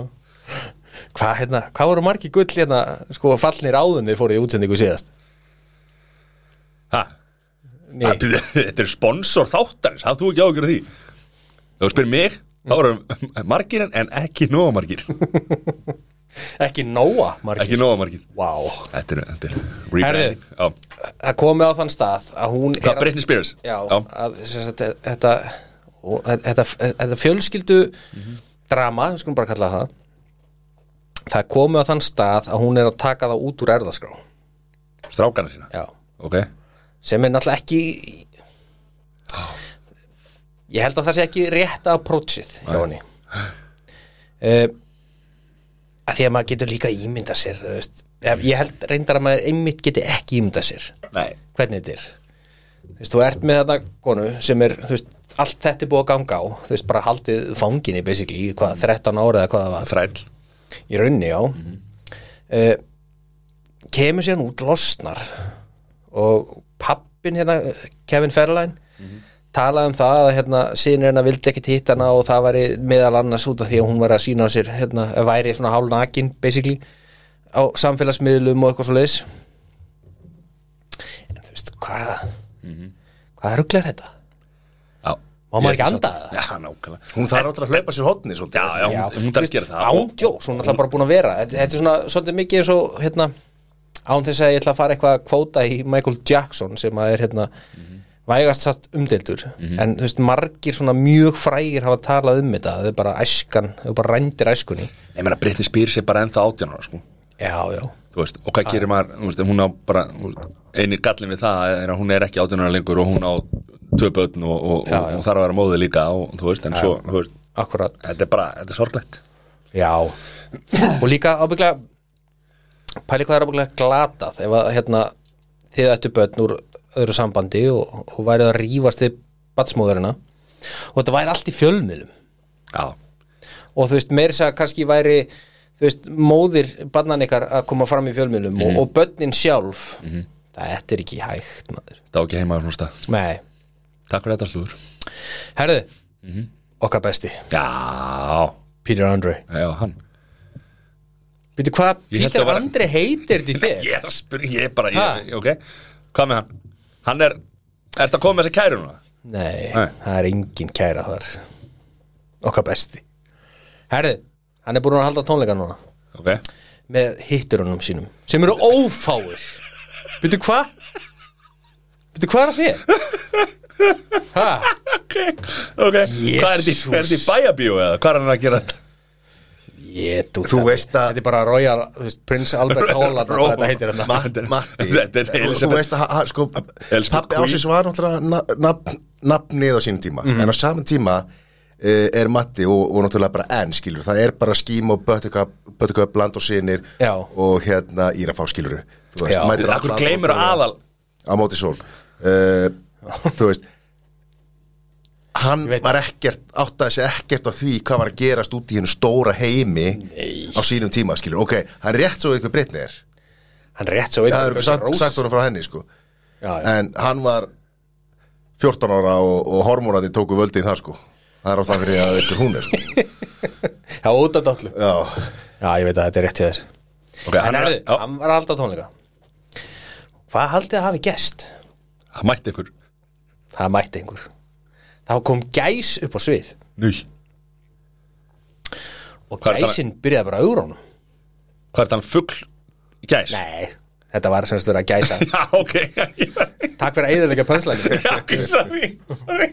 Speaker 2: hvað hérna, hva voru margi gull hérna sko fallnir áðunni fóru í útsendingu síðast
Speaker 3: Ha,
Speaker 2: Nei,
Speaker 3: að- Þetta er sponsor þáttarins, hafðu þú ekki ágjörð því Þú spyrir mig, þá eru margir en- en ekki nóga margir
Speaker 2: ekki nóa margi
Speaker 3: Ekki nóga margir
Speaker 2: Vá,
Speaker 3: Þetta er, þetta er
Speaker 2: Herðu.
Speaker 3: rebranding Já.
Speaker 2: það komi á þann stað að hún
Speaker 3: Það er
Speaker 2: að,
Speaker 3: Britney Spears
Speaker 2: já, að sem sagt, þetta, og þetta, þetta fjölskyldu drama, við skulum bara kalla það það komi á þann stað að hún er að taka það út úr erðaskrá
Speaker 3: Strákana sína
Speaker 2: já,
Speaker 3: Ok
Speaker 2: sem er náttúrulega ekki ég held að það sé ekki rétta approachið hjá henni uh, að því að maður getur líka ímynda sér þú veist. Ef- ég held reyndar að maður einmitt geti ekki ímynda sér
Speaker 3: Nei
Speaker 2: hvernig þetta er þú, veist, þú ert með þetta konu sem er þú veist, allt þetta er búið að ganga á þú veist, bara haldið fanginni basically í hvað, 13 ára eða hvað það var
Speaker 3: Þræll
Speaker 2: í raunni já mm kemur síðan út losnar og pappin hérna Kevin Fairline talaði um það að hérna sinir hennar vildi ekkit hitta hana og það væri meðal annars út af því að hún var að sína á sér hérna, væri svona hálnakin basically á samfélagsmiðlum og eitthvað svo leiðis en þú veist hvað hvað rugglar þetta?
Speaker 3: Já
Speaker 2: Má maður ekki anda það?
Speaker 3: Já, nákvæmlega
Speaker 1: Hún þarf náttúrulega að hlaupa sér hotni svolítið
Speaker 3: Já, já,
Speaker 2: Já,
Speaker 3: hún, hún
Speaker 2: þú
Speaker 3: þarf
Speaker 2: veist,
Speaker 3: að gera það
Speaker 2: án djóks, hún er alltaf bara búin að vera þetta, þetta er svona svolítið mikið eins og hérna, án þess að ég ætla að fara eitthvað að kvóta í Michael Jackson sem að er hérna, vægast satt umdeildur
Speaker 3: Mhm.
Speaker 2: en þú veist, margir svona mjög frægir hafa talað um þetta, þau bara æskan þau bara rændir æskunni
Speaker 3: Nei, ég meina Britney Spears er bara ennþá átján ára, sko
Speaker 2: já, já,
Speaker 3: Þú veist, og hvað gerir maður, þú veist, hún á bara þú veist, eini gallin við það er að hún er ekki átján ára lengur og hún á tvö börn og, og, og, og þarf að vera móði líka og þú veist, en svo, þú veist
Speaker 2: akkurat
Speaker 3: Þetta er bara, þetta er sorglegt
Speaker 2: já, og líka ábygglega pæli hvað er ábygglega glatað ef að hérna, þið ættu börn úr öðru sambandi og, og værið að rífast við batsmóðurina og þetta væri allt í fjölmiðlum
Speaker 3: Já,
Speaker 2: og þú veist, meir þess að kannski væri þú veist, móðir barnan ykkar að koma fram í fjölmiðlum og,
Speaker 3: Mhm.
Speaker 2: og börnin sjálf þetta er ekki hægt, maður
Speaker 3: það var ekki heima á svona stað
Speaker 2: Nei,
Speaker 3: Takk fyrir þetta slúður
Speaker 2: herðu
Speaker 3: Mhm.
Speaker 2: okkar besti,
Speaker 3: Já,
Speaker 2: Peter Andre
Speaker 3: já, hann
Speaker 2: Veitu hvað
Speaker 3: Ég held
Speaker 2: Peter
Speaker 3: að vera-
Speaker 2: Andre heitir því þér?
Speaker 3: Ég er að spyrja, ég er bara,
Speaker 2: Ha?
Speaker 3: ég, ok Hvað með hann? Hann er, ertu að koma með þessi kæru núna?
Speaker 2: Nei,
Speaker 3: Nei.
Speaker 2: það er engin kæra þar okkar besti Herðu, hann er búin að halda tónleika núna
Speaker 3: Ok,
Speaker 2: með hitturunum sínum sem eru ófáir Veitu hvað? Veitu hvað er að þér? Hæ?
Speaker 3: ok Hvað er þetta í- er þetta í bæjabíu eða? Hvað er hann að gera þetta?
Speaker 2: Ég, þú,
Speaker 1: Þú veist að-
Speaker 2: Þetta er bara Royal, þú veist, Prince
Speaker 3: *laughs*
Speaker 2: Albert Hall að
Speaker 3: Ró-
Speaker 2: þetta heitir hérna
Speaker 1: Matt- Matti,
Speaker 3: Þetta er
Speaker 1: þú- þú
Speaker 3: Elizabeth-
Speaker 1: veist að ha- ha- sko,
Speaker 3: Elizabeth
Speaker 1: pappi
Speaker 3: Queen. Mhm.
Speaker 1: ásins var náttúrulega na- nafn- nafnið á sínum tíma en á saman tíma eh, er Matti og, og náttúrulega bara enn skilur það er bara skím og bötuköp bland og sinir
Speaker 2: Já.
Speaker 1: og hérna írafá skilur þú veist,
Speaker 2: Já.
Speaker 1: mætir alla
Speaker 3: Akkur
Speaker 1: á
Speaker 3: gleymur
Speaker 1: móti-
Speaker 3: aðal
Speaker 1: á móti sól uh, þú veist hann
Speaker 2: veit
Speaker 1: var ekkert áttaði sig ekkert á því hvað var að gerast út í hennu stóra heimi Nei. á sínum tíma skilur ok, hann rétt svo ykkur breytni er
Speaker 2: Hann rétt svo veit
Speaker 1: það er sagt, sagt honum frá henni sko
Speaker 2: já, já.
Speaker 1: en hann var 14 ára og, og hormónandi tóku völdið þar sko það er á það fyrir að ykkur hún er sko
Speaker 2: já, út af dollu
Speaker 1: já,
Speaker 2: Já, ég veit að þetta er rétt hjá þér
Speaker 3: Ok,
Speaker 2: En
Speaker 3: hann er
Speaker 2: erðu,
Speaker 3: já,
Speaker 2: hann var alltaf tónleika Hvað haldið að hafi gest?
Speaker 3: Hann mætti einhver
Speaker 2: Það mætti einhver Þá kom gæs upp á svið
Speaker 3: Nú
Speaker 2: og
Speaker 3: Hvað er það?
Speaker 2: gæsin byrjaði bara að augurónum
Speaker 3: Hvað er þetta hann fugl? Gæs?
Speaker 2: Nei, þetta var semst verið að gæsa *laughs*
Speaker 3: Já, ok *laughs*
Speaker 2: Takk fyrir að eðalega pönslæðin *laughs*
Speaker 3: Já, ok, sorry Sorry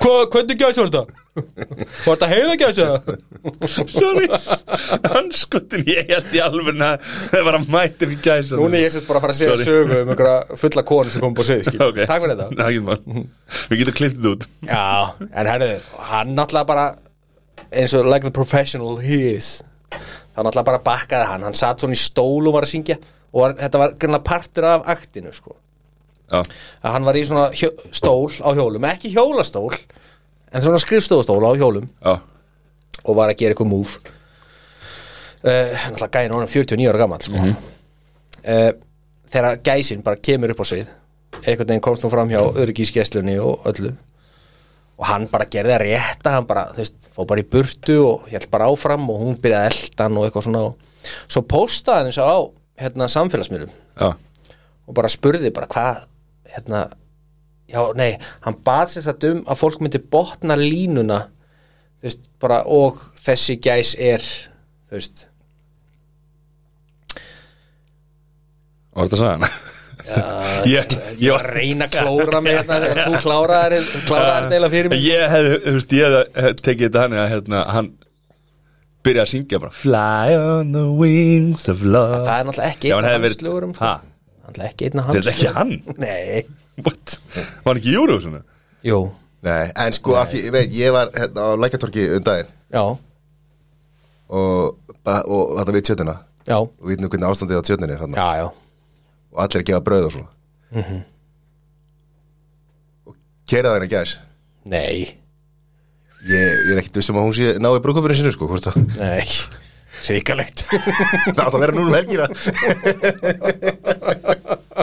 Speaker 2: Hvernig gæs var þetta? Var þetta heiða gæs eða?
Speaker 3: Sorry Anskutin, ég held í alveg að það var að mæta einhver gæs
Speaker 2: Núna er ég sérst bara að fara að segja
Speaker 3: Sorry.
Speaker 2: sögu um einhverja fulla konu sem kom upp á svið skilur.
Speaker 3: okay.
Speaker 2: Takk fyrir þetta *laughs*
Speaker 3: Ná, ekki, mál. Við getum kliftið út
Speaker 2: Já, en herðu, hann náttúrulega bara eins og like the professional he is þá náttúrulega bara bakkaði hann hann satt svona í stól og var að syngja og var, þetta var grannlega partur af aktinu sko.
Speaker 3: Já.
Speaker 2: að hann var í svona hjó, stól á hjólum ekki hjólastól, en svona skrifstofustól á hjólum
Speaker 3: Já,
Speaker 2: og var að gera eitthvað múf uh, hann ætla að gæna honum 49 ára gammal sko. mm þegar gæsin bara kemur upp á svið einhvern veginn komst hún fram hjá öryggisgeslunni og öllu og hann bara gerði að rétta hann bara, þú veist, fór bara í burtu og held bara áfram og hún byrjaði að elda hann og eitthvað svona og svo postaði hann eins og á hérna, samfélagsmiðlum
Speaker 3: já,
Speaker 2: og bara spurði bara hvað hérna, já nei hann bað sér þetta um að fólk myndi botna línuna þú veist, bara, og þessi gæs er þú veist
Speaker 3: var þetta að sagða hana? *laughs* Ég,
Speaker 2: ég
Speaker 3: ég
Speaker 2: var að reyna að klóra mig hérna, þegar þú kláraðar kláraðar þetta eiginlega fyrir mig
Speaker 3: Ég hefði, þú veist, ég hefði eh, tekið þetta hann að hérna, hann byrjaði að syngja bara Fly on the wings of love
Speaker 2: það er náttúrulega ekki
Speaker 3: Já,
Speaker 2: einn af
Speaker 3: hann hefði
Speaker 2: hans
Speaker 3: verið-
Speaker 2: slögurum sko.
Speaker 3: Ha?
Speaker 2: náttúrulega ekki einn af
Speaker 3: Þetta
Speaker 2: hans
Speaker 3: er ekki hann?
Speaker 2: *laughs* lögurum. nei,
Speaker 3: What? Var hann ekki í Eurovision? eða?
Speaker 2: jú,
Speaker 1: Nei, en sko, af því, ég veit, ég var hérna á lækjartorki um daginn
Speaker 2: já,
Speaker 1: og, bara- og þetta við tjötuna
Speaker 2: já
Speaker 1: og við veitum hvernig ástandið á tjötunni er hérna
Speaker 2: já, já,
Speaker 1: og allir að gefa brauð og svona og keraði henni gæs
Speaker 2: nei,
Speaker 1: ég, ég er ekkert vissum að hún sé náði brúkupinu sinu sko, hvort það
Speaker 2: nei ríkalegt
Speaker 1: *laughs* það átt að vera núna um helgina
Speaker 2: *laughs*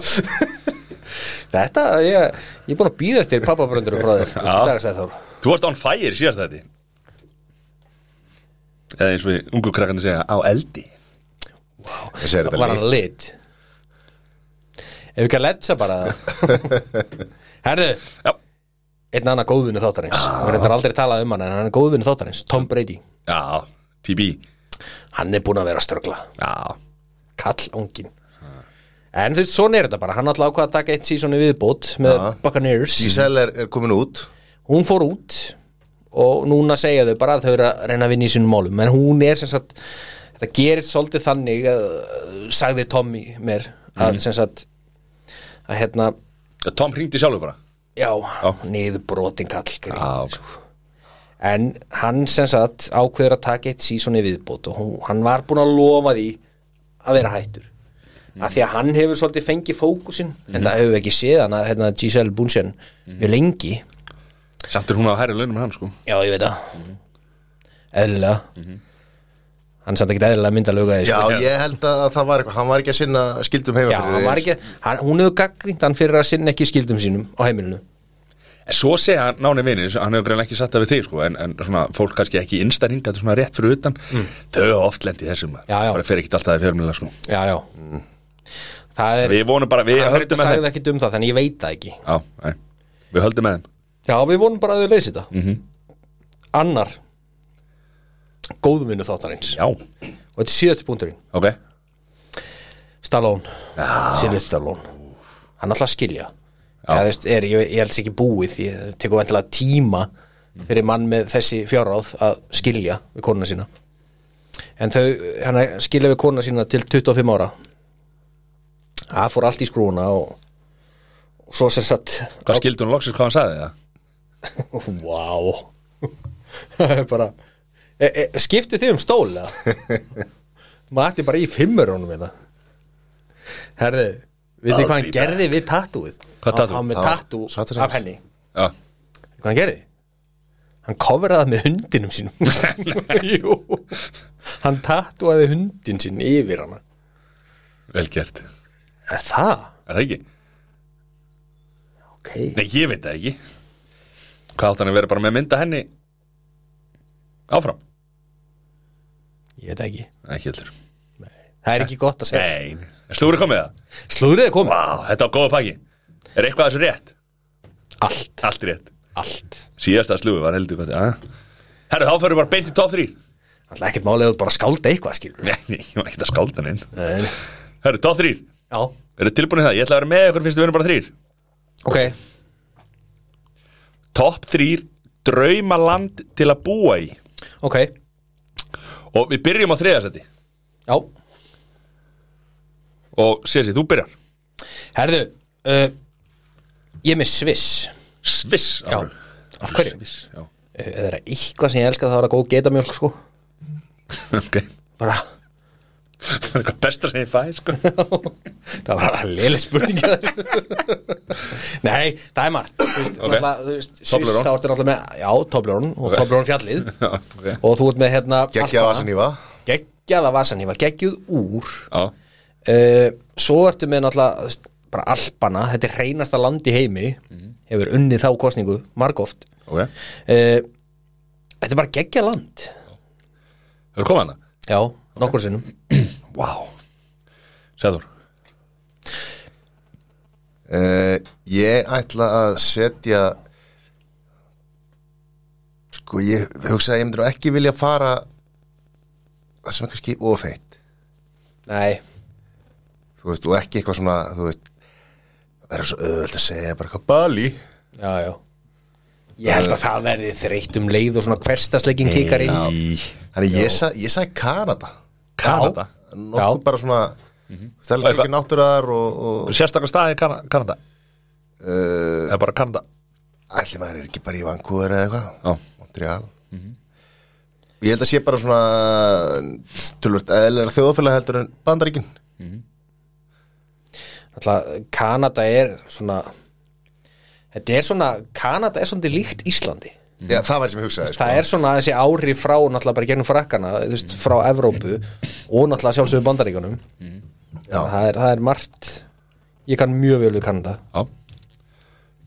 Speaker 2: Þetta, ég, ég er búin að býða eftir pappabröndur frá þér
Speaker 3: Já.
Speaker 2: dagasæðþór
Speaker 3: Þú varst on fire síðast þetta Eða eins og við ungu krakkandi segja á eldi
Speaker 1: ég segir þetta
Speaker 2: Var hann
Speaker 1: leik
Speaker 2: lit Ef við ekki að letsa bara Herðu,
Speaker 3: Já,
Speaker 2: einn annar góðvinni þáttarins Við reyndar aldrei talað um hann en hann er góðvinni þáttarins Tom Brady,
Speaker 3: já, TB
Speaker 2: hann er búin að vera að ströggla
Speaker 3: Já,
Speaker 2: Kall ungin En þú veist, svona er þetta bara Hann alltaf ákvað að taka eitt sísoni viðbót með
Speaker 1: Já.
Speaker 2: Buccaneers
Speaker 1: Giselle er, er komin út
Speaker 2: hún fór út og núna segja þau bara að þau eru að reyna að vinna í sínum málum en hún er sem sagt þetta gerist svolítið þannig að, sagði Tommy mér að sem sagt að hérna,
Speaker 3: Tom hringdi sjálfur bara
Speaker 2: já, já. niður brotinkall
Speaker 3: Já.
Speaker 2: sko. en hann sem sagt ákveður að taka eitt sísoni viðbót og hún, hann var búin að lofa því að vera hættur af því að hann hefur svolítið fengið fókusinn en það hefur við ekki séð hann að hérna, Giselle Bunsen mjög lengi
Speaker 3: Samt er hún á hærri launum en hann sko
Speaker 2: Já, ég veit það Eðlilega Hann er samt ekki eðlilega myndalöga
Speaker 1: já, ég held að það var eitthvað hann var ekki að sinna skildum heima
Speaker 2: já hann var ekki, hann, hún hefur gaggrínt hann fyrir að sinna ekki skildum sínum á heimilinu
Speaker 3: En svo segja hann náni vinir, hann hefur greinlega ekki satt það við þig sko, en, en svona fólk kannski ekki innstæring, þetta er svona rétt fyrir utan, þau hafa oft lendið þessum,
Speaker 2: Já, já.
Speaker 3: bara fer ekki alltaf í fjörmjöla sko.
Speaker 2: Já, já Það er,
Speaker 3: Við vonum bara, við
Speaker 2: hann
Speaker 3: höldum
Speaker 2: reyndar
Speaker 3: með þeim.
Speaker 2: sagði ekki um það, þannig ég veit það ekki
Speaker 3: Já, nei, við höldum með þeim.
Speaker 2: Já, við vonum bara að við leysi þetta -hmm. Annar Góðvinnu þáttarins
Speaker 3: Já,
Speaker 2: Og þetta er síðasti punkturinn
Speaker 3: ok.
Speaker 2: Stallone Silvestre Stallone hann alltaf skilja Eða, þú veist, er, ég, ég held sér ekki búið ég tekur vantilega tíma fyrir mann með þessi fjáráð að skilja við konuna sína en þau, hann skilja við konuna sína til 25 ára það fór allt í skrúna og, og svo sem sagt
Speaker 3: Hvað skildi hún loksins hvað hann sagði það?
Speaker 2: wow það er bara e, e, skiptu þið um stól eða? mati bara í fimmur honum þetta herði veitir hvað hann gerði við tattúið
Speaker 3: Hvað tattoo?
Speaker 2: hann með
Speaker 1: Já,
Speaker 2: tattú
Speaker 1: svartur
Speaker 2: af henni
Speaker 3: Já,
Speaker 2: hvað hann gerði hann kofraði það með hundinum
Speaker 3: *laughs*
Speaker 2: sínum jú hann tattúaði hundin sín yfir hana
Speaker 3: vel gert.
Speaker 2: er það?
Speaker 3: Er það ekki?
Speaker 2: ok
Speaker 3: Nei, ég veit það ekki. Hvað átt hann að vera bara með að mynda henni áfram?
Speaker 2: ég veit ekki
Speaker 3: Ekki heldur.
Speaker 2: það er ekki gott að segja
Speaker 3: Nei, er slúrið komið það?
Speaker 2: slúðrið er komið
Speaker 3: Vá, þetta á góða pakki. Er eitthvað af þessu rétt?
Speaker 2: allt
Speaker 3: Allt rétt.
Speaker 2: allt
Speaker 3: síðasta slúi var heldur gott að Herru, þá fyrir bara beint í top 3
Speaker 2: Það er ekkert málið að þú bara skálda eitthvað skilur
Speaker 3: *laughs* Nei, nei, ég var ekkert að skálda neinn
Speaker 2: Nei.
Speaker 3: Herru, top 3,
Speaker 2: Já,
Speaker 3: eru tilbúin í það? Ég ætla að vera með ykkur fyrst við verðum bara 3
Speaker 2: ok
Speaker 3: Top 3, draumaland til að búa í
Speaker 2: Ok,
Speaker 3: Og við byrjum á þriðasetti
Speaker 2: já
Speaker 3: Og sér sér, þú byrjar
Speaker 2: Herðu, uh, ég er með Sviss
Speaker 3: Sviss
Speaker 2: Já.
Speaker 3: alveg.
Speaker 2: Af hverju?
Speaker 3: Sviss, já *laughs*
Speaker 2: Ef það er eitthvað sem ég elska þá er það góð getamjólk sko
Speaker 3: Ok
Speaker 2: Bara
Speaker 3: Það er eitthvað besta sem ég fæ sko.
Speaker 2: *laughs* það var að léle spurninga *laughs* Nei, það er margt Þú veist,
Speaker 3: Ok.
Speaker 2: náttúrulega, þú veist, Sviss
Speaker 3: Toblerone.
Speaker 2: þá ertu náttúrulega með Já, Toblerón og
Speaker 3: Ok.
Speaker 2: Toblerón fjallið
Speaker 3: Já, ok.
Speaker 2: og þú ert með hérna
Speaker 1: Gekkja vasanífa
Speaker 2: Geggjaða vasanífa, geggjuð úr
Speaker 3: Já,
Speaker 2: uh, Svo ertu með náttúrulega þú veist, bara Alpana, þetta er hreinasta land í heimi
Speaker 3: Mhm.
Speaker 2: hefur unnið þá kosningu margóft
Speaker 3: ok Hefur
Speaker 2: uh, Þetta er bara geggja land
Speaker 3: komað hana?
Speaker 2: Já, nokkur sinnum
Speaker 3: Vá Sæður
Speaker 1: Uh, ég ætla að setja sko ég hugsa að ég myndir ekki vilja fara það sem er kannski ofeitt
Speaker 2: Nei,
Speaker 1: þú veist og ekki eitthvað svona þú veist það er svo auðvöld að segja bara eitthvað Bali
Speaker 2: já, já Ég held að það verði þreytt um leið og svona hverstaslegging kikar í
Speaker 1: þannig ég, sa, ég sagði Kanada
Speaker 3: Kanada
Speaker 1: nokkuð
Speaker 2: Já. Mhm.
Speaker 1: bara svona það er ekki náttúrar og, og eh,
Speaker 3: Sérstakar staði í Kana- Kanada Það er bara Kanada
Speaker 1: allir maður er ekki bara í Vancouver eða eitthvað
Speaker 3: Já.
Speaker 1: Montreal ég held að sé bara svona tölvöld eðlera þjóðfélag heldur en bandaríkin
Speaker 2: Alltaf, Kanada er svona Þetta er svona Kanada er svona líkt Íslandi
Speaker 1: Já, það var sem ég hugsaði sko.
Speaker 2: Það er svona þessi ári frá náttúrulega bara gegnum frakkana, þú veist, frá Evrópu og náttúrulega sjálfsögur bandaríkunum
Speaker 1: Já.
Speaker 2: það er, það er margt Ég kann mjög vel við Kanada
Speaker 3: Já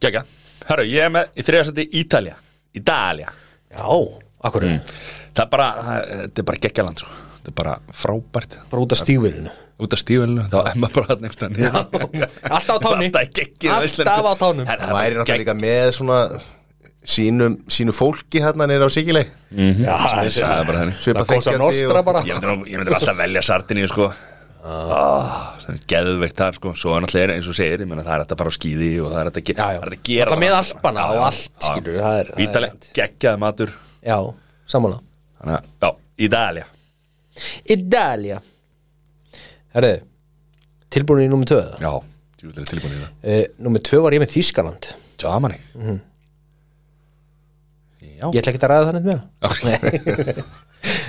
Speaker 3: Gægja Herru, ég er með í þriðarsætti Ítalja Ítalja
Speaker 2: Já, akkur mm.
Speaker 3: Það er bara, það- þetta er bara geggjaland sko. Þetta er bara frábært
Speaker 2: Bara út af stígvilinu
Speaker 3: Út af stífunlu, þá er maður bara nefnst að niður
Speaker 2: Alltaf á tánni.
Speaker 3: Alltaf í geggjuðu
Speaker 2: Alltaf
Speaker 3: veislu.
Speaker 2: á tánum.
Speaker 3: Herra,
Speaker 1: Það væri
Speaker 3: bara gegg-
Speaker 1: náttúrulega líka með svona sínum, sínu fólki hérna nýra á Sigileg
Speaker 2: Mhm. Já,
Speaker 3: Það er bara þannig
Speaker 1: Svipa
Speaker 2: Það kosa nostra bara
Speaker 3: Ég myndir, ég myndir alltaf velja Sardiníu sko Ah, Það er geðveikt þar sko Svo er náttúrulega eins og þú segir, ég meina það er þetta bara á skýði og það er þetta að ge-
Speaker 2: Já, já.
Speaker 3: það er hægt að gera
Speaker 2: Náttúrulega með
Speaker 3: þarna, sko.
Speaker 2: Alpana
Speaker 3: Já,
Speaker 2: og
Speaker 3: já,
Speaker 2: allt,
Speaker 3: já.
Speaker 2: skilurðu, það er- það er
Speaker 3: Ítalía,
Speaker 2: rétt.
Speaker 3: geggjaði matur
Speaker 2: Já, sammála
Speaker 3: Þannig að, já, Ítalja
Speaker 2: Idalia Herðu, tilbúin í númer 2
Speaker 3: Já, djúlega tilbúin í það
Speaker 2: uh, Númer 2 var ég með Þýskaland
Speaker 3: Germany Já
Speaker 2: Mhm. Ég ætla ekki að ræða það neitt meira Nei.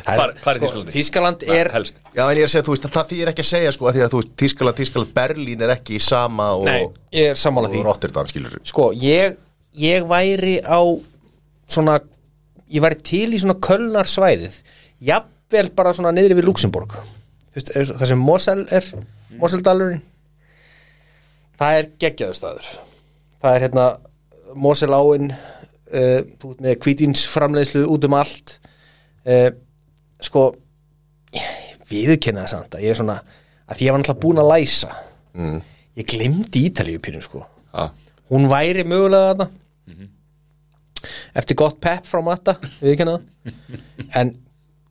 Speaker 2: Það
Speaker 3: Hvar- hvar í
Speaker 2: sko,
Speaker 3: Þýskalandi?
Speaker 2: Þýskaland er
Speaker 3: *laughs* helst
Speaker 1: Já, en ég er að segja, þú veist, það því er ekki að segja sko, af því að þú veist, Tískaland, Tískaland, Berlín er ekki sama og,
Speaker 2: Nei, ég er sammála
Speaker 1: og
Speaker 2: því
Speaker 1: Rotterdam, skilur
Speaker 2: Sko, ég, ég væri á svona ég væri til í svona kölnar svæðið jafnvel bara svona niðri við Luxemburg Þú veist, eins og það sem Mosel er Moseldalurinn það er geggjaður staður það er hérna Mosel áin uh, þú ert með kvítins framleiðslu út um allt uh, sko viðurkenna það samt að ég er svona að því ég var náttúrulega búin að læsa mm. ég glemdi Ítalíu pyrrum sko
Speaker 3: Já,
Speaker 2: hún væri mögulega þarna
Speaker 3: Mhm.
Speaker 2: eftir gott pepp frá matta við ekki
Speaker 3: *laughs*
Speaker 2: það en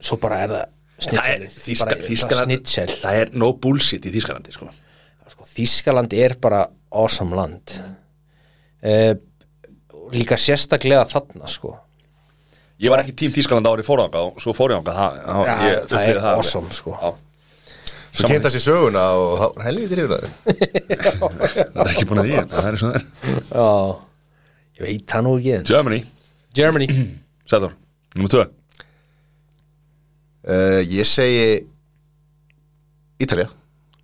Speaker 2: svo bara er það
Speaker 3: Það er
Speaker 2: snitsel
Speaker 3: Þýska-
Speaker 2: snitsel
Speaker 3: Þýskaland Það er no bullshit í Þýskalandi sko.
Speaker 2: sko, Þískaland er bara awesome land uh, líka sérstaklega þarna sko
Speaker 3: Ég var ekki tím Þýskaland árið fóranga og svo fórjanga það, það,
Speaker 2: Já,
Speaker 3: ég
Speaker 2: það
Speaker 3: upplifði
Speaker 2: er
Speaker 3: alveg.
Speaker 2: awesome, sko.
Speaker 3: Já,
Speaker 1: Svo kynnt það sér söguna og þá helvitir yfir
Speaker 2: *laughs*
Speaker 1: það
Speaker 3: Það er ekki búin að því en Það er svona þær
Speaker 2: já, ég veit það nú ekki en-
Speaker 3: Germany,
Speaker 2: *clears throat* Germany
Speaker 3: Sæður, nummer 2
Speaker 1: uh, Ég segi Ítalja,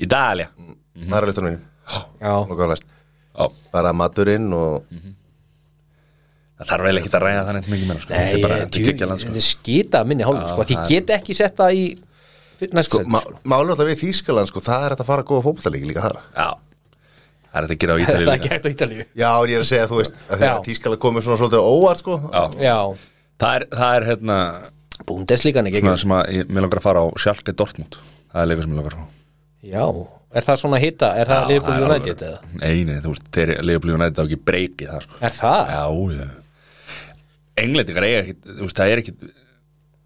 Speaker 3: Ídalia
Speaker 1: það er að listanum mínum
Speaker 2: já,
Speaker 1: og hvað læst
Speaker 3: Já,
Speaker 1: Bara maturinn og
Speaker 2: Mhm.
Speaker 3: það þarf vel ekki að ræða þannig mikið meira sko.
Speaker 2: nei,
Speaker 3: Þetta er bara
Speaker 2: ég-
Speaker 3: þetta
Speaker 2: djú-
Speaker 3: gekkja land
Speaker 2: þetta
Speaker 3: sko.
Speaker 2: er skita minni hálfum sko, því ég get ekki sett það í næstu
Speaker 1: sko,
Speaker 2: sæti,
Speaker 1: má,
Speaker 2: sko.
Speaker 1: Málum alltaf við Þískaland, sko, það er hægt að fara að góða fótbollalíki líka þar
Speaker 3: Já, *laughs* það er þetta að gera
Speaker 2: *laughs*
Speaker 3: á
Speaker 2: það er
Speaker 3: Ítalíu
Speaker 2: ekki
Speaker 3: líka.
Speaker 2: hægt á Ítalíu
Speaker 1: Já, en ég er að segja, þú veist, að því
Speaker 2: Já.
Speaker 1: að Þískaland komið svona svolítið á óvart, sko
Speaker 3: Já,
Speaker 2: já,
Speaker 3: það er, það er hérna
Speaker 2: búndesligan ekki
Speaker 3: svona sem að ég- mig langar að fara á Schalke Dortmund Það er leikur sem mig langar að fara á
Speaker 2: Já, er það svona hitta, er það Liverpool
Speaker 3: Já, það er
Speaker 2: United eða?
Speaker 3: alveg- Nei, nei, þú veist, þeir Liverpool United á ekki breyki það sko.
Speaker 2: Er það?
Speaker 3: Já, já Englendingar eiga ekki, þú veist, það er ekki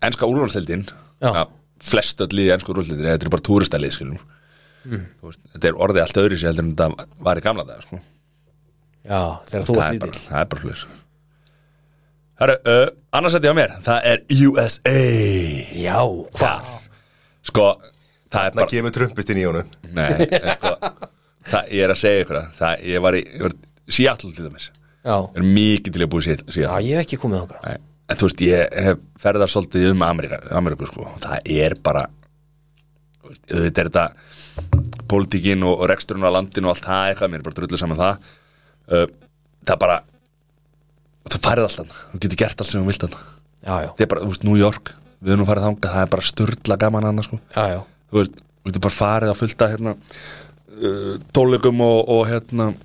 Speaker 3: Enska úrvalstildin
Speaker 2: Já.
Speaker 3: Flest öll liði enska úrvalstildin Þetta eru bara túristalið, skiljum veist, Þetta er orðið allt öðru sér heldur en þetta var í gamla dag sko.
Speaker 2: Já, þegar þú ert
Speaker 3: það, er bara,
Speaker 2: lítill
Speaker 3: það er bara hlust Herru, uh, annars setja á mér Það er USA
Speaker 2: Já, hvað?
Speaker 3: Sko, það er
Speaker 1: Það
Speaker 3: bara
Speaker 1: kemur trumpistinn í honum
Speaker 3: Nei, en sko það, Ég er að segja ykkur það, það Ég var í, ég var í Seattle til dæmis
Speaker 2: Já.
Speaker 3: er mikið til að búið sér,
Speaker 2: Já,
Speaker 3: síðan
Speaker 2: ég hef ekki komið þangað
Speaker 3: Nei, en þú veist, ég hef ferðar svolítið um Ameríka, Ameríku sko, og það er bara veist, auðvitað er þetta pólitíkin og, og reksturinn á landinu og allt það eitthvað, mér er bara drullu saman um það uh, það er bara þú færið allt hann, þú getur gert allt sem þú vilt hann
Speaker 2: já, já,
Speaker 3: það er bara, þú veist, New York við erum nú farið þangað, það er bara sturla gaman hann sko.
Speaker 2: já, já.
Speaker 3: þú veist, þú getur bara farið að fullta hérna, uh, tónleikum og, og hérna og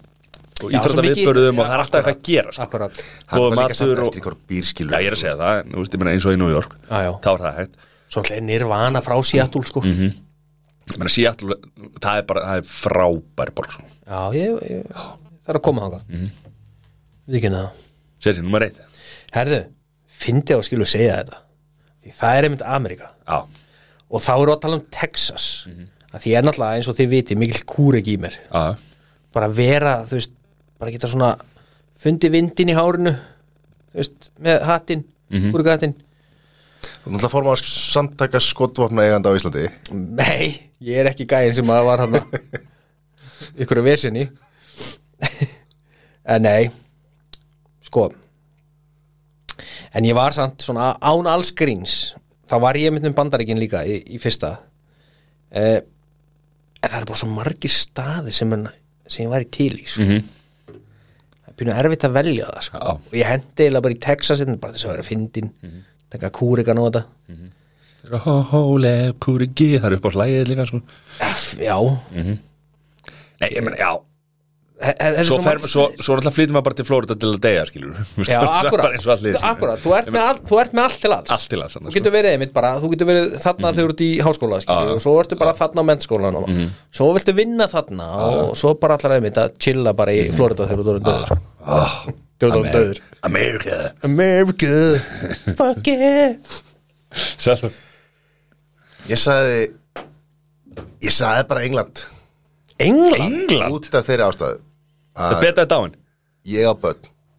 Speaker 2: Já, svo
Speaker 3: íþrótta
Speaker 2: mikið-
Speaker 3: viðbörðum og
Speaker 2: já,
Speaker 3: það er alltaf eitthvað að gera sko.
Speaker 2: Akkurat,
Speaker 1: Hann
Speaker 3: góð
Speaker 1: var líka samt
Speaker 3: matur
Speaker 1: eftir
Speaker 3: og,
Speaker 1: ykkur bírskilu
Speaker 3: já ég er að segja það, þú veist, ég meina eins og í New York
Speaker 2: Já, já.
Speaker 3: þá er það hægt
Speaker 2: svo hlutlega nirvana frá Seattle sko
Speaker 3: Mhm. Ég meina, Seattle, það er bara, það er frábær borg sko.
Speaker 2: Já, ég, ég það er að koma þangað
Speaker 3: Mhm.
Speaker 2: mm Við ekki neða
Speaker 3: Sér sér, nummer eitt
Speaker 2: Herðu, fyndi á að skilu segja þetta Því það er einmitt Amerika
Speaker 3: Já,
Speaker 2: og þá erum við að tala um Texas
Speaker 3: Mhm.
Speaker 2: að því ég er náttúrulega eins og þið viti mikill kúrek í mér
Speaker 3: já,
Speaker 2: bara vera, þú veist, bara geta svona fundi vindin í hárinu þú veist, með hattinn mm -hmm. kúrekahattinn
Speaker 1: Þú náttúrulega fór maður samtaka skotvopna eiganda á Íslandi
Speaker 2: Nei, ég er ekki gæinn sem að var hann ykkur að vesinni en nei sko en ég var samt svona án alls gríns þá var ég mynd með bandaríkin líka í, í fyrsta eh, en það er bara svo margir staðir sem, en, sem ég væri til í sko. það er pínu erfitt að velja það sko.
Speaker 3: Mhm. Já. Mhm.
Speaker 2: og ég hendi eiginlega bara í Texas hérna, bara þess að vera fyndin mm -hmm. taka kúrikan á þetta
Speaker 3: já Hóle, kúrigi, það er upp á slæðið líka sko.
Speaker 2: F, já,
Speaker 3: Mhm. Nei, ég meina, já
Speaker 2: Þe- þetta er
Speaker 3: Svo, fer,
Speaker 2: margir
Speaker 3: svo, svo náttúrulega flýtum maður bara til Florida til að deyja, skilur *laughs*
Speaker 2: Já, akkurat,
Speaker 3: eins og allir
Speaker 2: akkurat þú, ert með all, þú ert með allt til alls
Speaker 3: Allt Mhm. til alls,
Speaker 2: Þú
Speaker 3: annars, sko.
Speaker 2: getur verið einmitt bara, þú getur verið þarna þegar þú ert í háskóla skilur, og svo ertu bara þarna á mennskólan mm
Speaker 3: Mhm.
Speaker 2: svo viltu vinna þarna og svo bara allar einmitt að chilla bara í
Speaker 3: Mhm.
Speaker 2: Florida þegar þú erum döður sko.
Speaker 3: Ah,
Speaker 1: Ah.
Speaker 2: Þegar þú erum döður
Speaker 3: sko. America
Speaker 2: America, fuck yeah
Speaker 3: Sjálf-
Speaker 1: Ég sagði Ég sagði bara England
Speaker 2: England,
Speaker 3: England,
Speaker 1: Út af þeirri ástæðu
Speaker 3: það er betaði dáin
Speaker 1: Ég á börn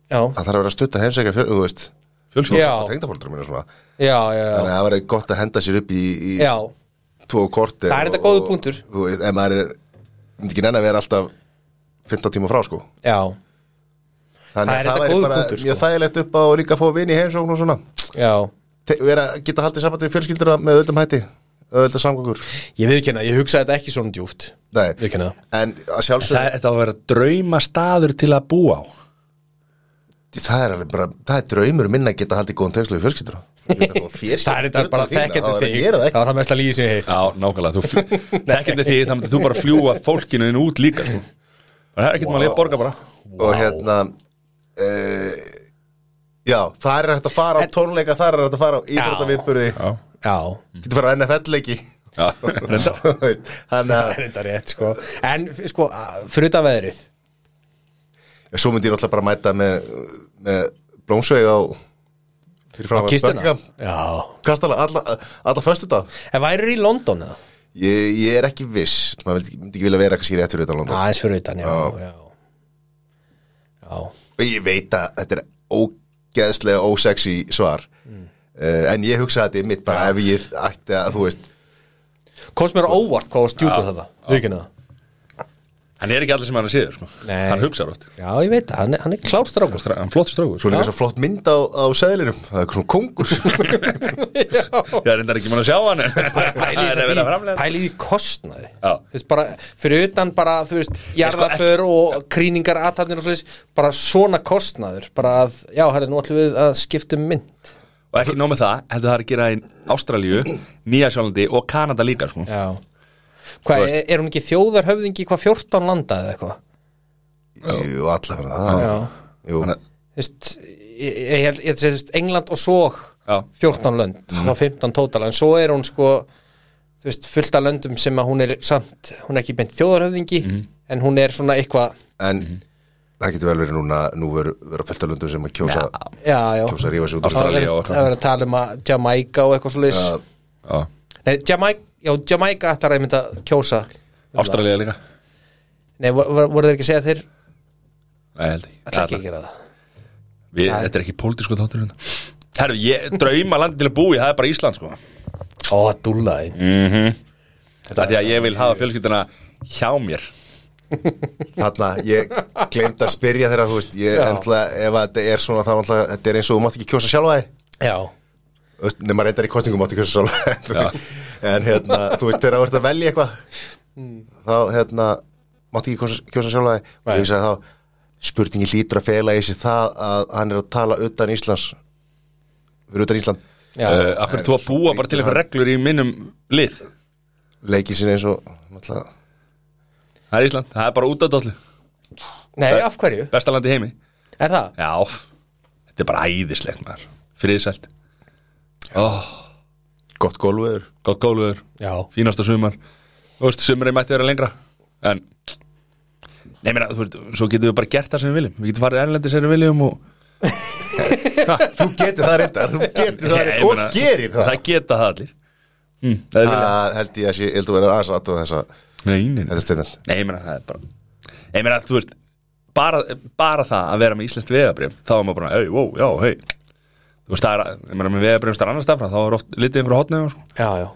Speaker 2: já,
Speaker 1: Það þarf að vera að stutta heimsækja fyrir, þú veist
Speaker 3: Fjölsum,
Speaker 2: Já.
Speaker 1: og tengdafóldra mínu svona
Speaker 2: já, já, já,
Speaker 1: Þannig að það var gott að henda sér upp í, í
Speaker 2: já.
Speaker 1: tvo korti
Speaker 2: Það er þetta góður punktur.
Speaker 1: En maður er, myndi ekki nenni að vera alltaf 15 tíma frá sko
Speaker 2: já.
Speaker 1: Þannig að
Speaker 2: Það er þetta
Speaker 1: væri
Speaker 2: góður
Speaker 1: bara
Speaker 2: punktur, sko.
Speaker 1: mjög þægilegt upp á og líka að fá vini í heimsókn og svona
Speaker 2: já.
Speaker 1: Te- vera, Geta haldið sambandi við fjölskyldura með öldum hætti Öldum samgangur
Speaker 2: ég viðkenna, ég hugsaði þetta ekki svona djúft
Speaker 1: Nei,
Speaker 2: viðkenna það
Speaker 1: en að sjálfsög
Speaker 3: það
Speaker 1: það,
Speaker 3: er það að vera drauma staður til að búa á
Speaker 1: er alveg bara, það er draumur minn að geta haldið góðan tengslu við fjölskyldura
Speaker 2: Það *laughs*
Speaker 1: Það
Speaker 2: er þetta bara þekkjandi þig
Speaker 1: Það
Speaker 2: Það var það mest að líði sem ég heilt
Speaker 3: Já, nákvæmlega, þú þekkjandi því, það myndir þú bara fljúa fólkinu þinn út líka sko. Það er ekkert wow. maður að borga bara
Speaker 1: og hérna uh, já, það er hægt að fara á tónleika það er hægt að fara á íþróttaviðburði
Speaker 3: Já,
Speaker 2: Já,
Speaker 1: getur fara á NFL-leiki
Speaker 3: já, reyndar
Speaker 1: þannig
Speaker 2: Það
Speaker 1: að
Speaker 2: er þetta rétt sko En f- sko, a- fyrir utan veðrið
Speaker 1: svo myndi ég náttúrulega bara mæta með, með blómsveig á fyrir fram
Speaker 2: Kistuna Já
Speaker 1: kastala, alla, alla föstu dag
Speaker 2: En værir í London eða?
Speaker 1: ég, ég er ekki viss, maður vildi- myndi ekki vilja vera kannski rétt fyrir þetta landa
Speaker 2: Aðeins fyrir utan, já Já, já.
Speaker 1: og ég veit að þetta er ógeðslega ósexy svar uh, en ég hugsa að þetta er mitt bara ef ég ætti að, þú veist
Speaker 2: Kost mér á óvart hvað var stjúpur þetta Við ekki það
Speaker 3: Hann er ekki allir sem hann er síður sko.
Speaker 2: Nei.
Speaker 3: Hann hugsar oft
Speaker 2: Já, ég veit það, hann, er- hann er klárstrákur
Speaker 3: Stra- Hann flott strákur
Speaker 1: Svo er líka svo flott mynd á, á sæðlinum Það er svona kongur
Speaker 3: Ég er reyndar ekki mann að sjá hann en-
Speaker 2: Pæli
Speaker 3: Það
Speaker 2: því
Speaker 3: er
Speaker 2: sem
Speaker 3: að vera að
Speaker 2: því-
Speaker 3: framleiða.
Speaker 2: pæli því kostnaði
Speaker 3: Já.
Speaker 2: Þú veist, bara, Fyrir utan bara, þú veist Jarðaför og krýningar, athafnir og svoleiðis Bara svona kostnaður Bara að, já, herri, nú ætlum við að skipta um mynd
Speaker 3: Og ekki nóg með það, heldur það er að gera í Ástralíu, Nýja Sjálandi og Kanada líka sko.
Speaker 2: Já Hvað, er, er hún ekki þjóðarhöfðingi í hvað 14 landa eða eitthvað?
Speaker 1: Jú, allavega það
Speaker 2: Já.
Speaker 1: Jú,
Speaker 3: Þannig að-
Speaker 2: Þú veist, ég, ég held, ég held að segja, England og svo
Speaker 3: Já.
Speaker 2: 14 lönd, þá 15 tótala en svo er hún sko þú veist, fullt af löndum sem að hún er samt, hún er ekki beint þjóðarhöfðingi en hún er svona eitthvað
Speaker 1: en það getur vel verið núna Nú veru- vera fullt af löndum sem að kjósa
Speaker 2: já, já,
Speaker 1: Kjósa að rífa sig út úr
Speaker 2: það
Speaker 3: Ástralía
Speaker 2: er
Speaker 3: og-
Speaker 2: það er að tala um að Jamaica og eitthvað svo leis
Speaker 1: Já.
Speaker 3: Já.
Speaker 2: Nei, Jamaica, já, Jamaica ætlar að mynda kjósa
Speaker 3: Ástralíu líka
Speaker 2: Nei, vo- vo- voru þeir ekki að segja að þeir
Speaker 3: Nei, held ég
Speaker 2: ætla ekki að gera það
Speaker 3: Við, Þetta er ekki pólitísku þáttur hérna. Herru, ég drauma landi til að búi, það er bara Ísland sko.
Speaker 2: Ó, dúllaði
Speaker 3: Mm. Það er því að ég vil hafa fjölskyldina hjá mér
Speaker 1: Þarna, ég glemt að spyrja þeirra Þú veist, ég
Speaker 2: Já.
Speaker 1: ennlega Ef að þetta er svona þá ennlega Þetta er eins og þú mátt ekki kjósa sjálfa þig
Speaker 2: Já
Speaker 1: Þú veist, nema reyndar í kostningum átti hversu sól en hérna, þú veist, þegar þú ert að velja eitthvað
Speaker 3: Hmm.
Speaker 1: þá hérna mátti ekki kjósa- kjósa sjálfa þig. og ég hugsaði þá, spurningi lítur að fela í sig það að hann er að tala utan Íslands fyrir utan Ísland
Speaker 2: Já,
Speaker 3: uh, af hverju þú að búa bara til eitthvað reglur í minnum lið
Speaker 1: leikið sér eins og náttúrulega,
Speaker 3: það er Ísland, það er bara út af dollu
Speaker 2: nei, af hverju?
Speaker 3: besta land í heimi
Speaker 2: Er það?
Speaker 3: já, þetta er bara æðislegt maður friðsælt oh,
Speaker 1: gott gólfur
Speaker 3: gott gólfur,
Speaker 2: Já,
Speaker 3: fínasta sumar þú veist, sumari mætti vera lengra en nei, meina, þú veist, svo getum við bara gert það sem við viljum við getum farið erlendi sem við viljum og
Speaker 1: þú getur það reyndar, þú getur það
Speaker 3: Nei, ég
Speaker 1: reyndar
Speaker 3: meina,
Speaker 1: og gerir það
Speaker 3: það geta það allir mm, það
Speaker 2: Ah.
Speaker 3: er vilja
Speaker 1: það Ah, held ég að sé, ég held að vera aðeins aðtóð þessa
Speaker 3: nei, nei, nei.
Speaker 1: þetta stefnir
Speaker 3: Nei, ég meina það er bara Ég meina, þú veist bara, bara það að vera með Íslands vegabrif þá er maður bara, hei, wow, já, hei Þú veist, það er, ég meina, með vegabrif starf annars stafra þá er oft litið einhver hotnið sko.
Speaker 2: já, já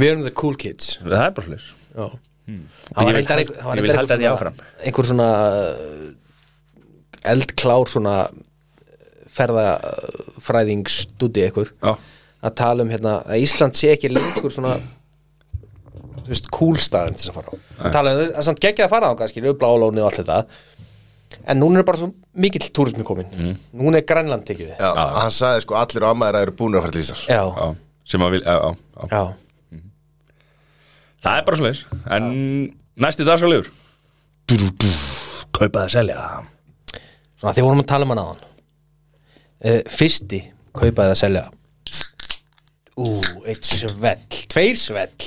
Speaker 2: Við erum the cool kids
Speaker 3: Það er bara hlir
Speaker 2: Já Það
Speaker 3: Ég
Speaker 2: var
Speaker 3: vil
Speaker 2: reyndar
Speaker 3: hal-
Speaker 2: einhver- það var
Speaker 3: ég vil
Speaker 2: reyndar
Speaker 3: halda því
Speaker 2: einhver
Speaker 3: áfram.
Speaker 2: svona- einhver svona uh, eldklár svona uh, ferðafræðingstúti einhver
Speaker 3: Já,
Speaker 2: að tala um hérna að Ísland sé ekki lengur svona þú veist, kúlstaðum til þess að fara á Að tala um þess að samt geggja að fara á kannski, bláulónið og allt þetta en núna er bara svo mikill túrismi komin
Speaker 3: Mm.
Speaker 2: núna er Grænland tekið við
Speaker 1: Já, hann sagði sko allir ámaður eru búin að fara til Íslands
Speaker 2: já,
Speaker 3: já, sem að vil, já, já, já
Speaker 2: já,
Speaker 3: Það er bara slis, en næsti dagskaliður Kaupaði að selja
Speaker 2: svona því vorum að tala um hann aðan uh, fyrsti kaupaði að selja ú, eitt svell tveir svell,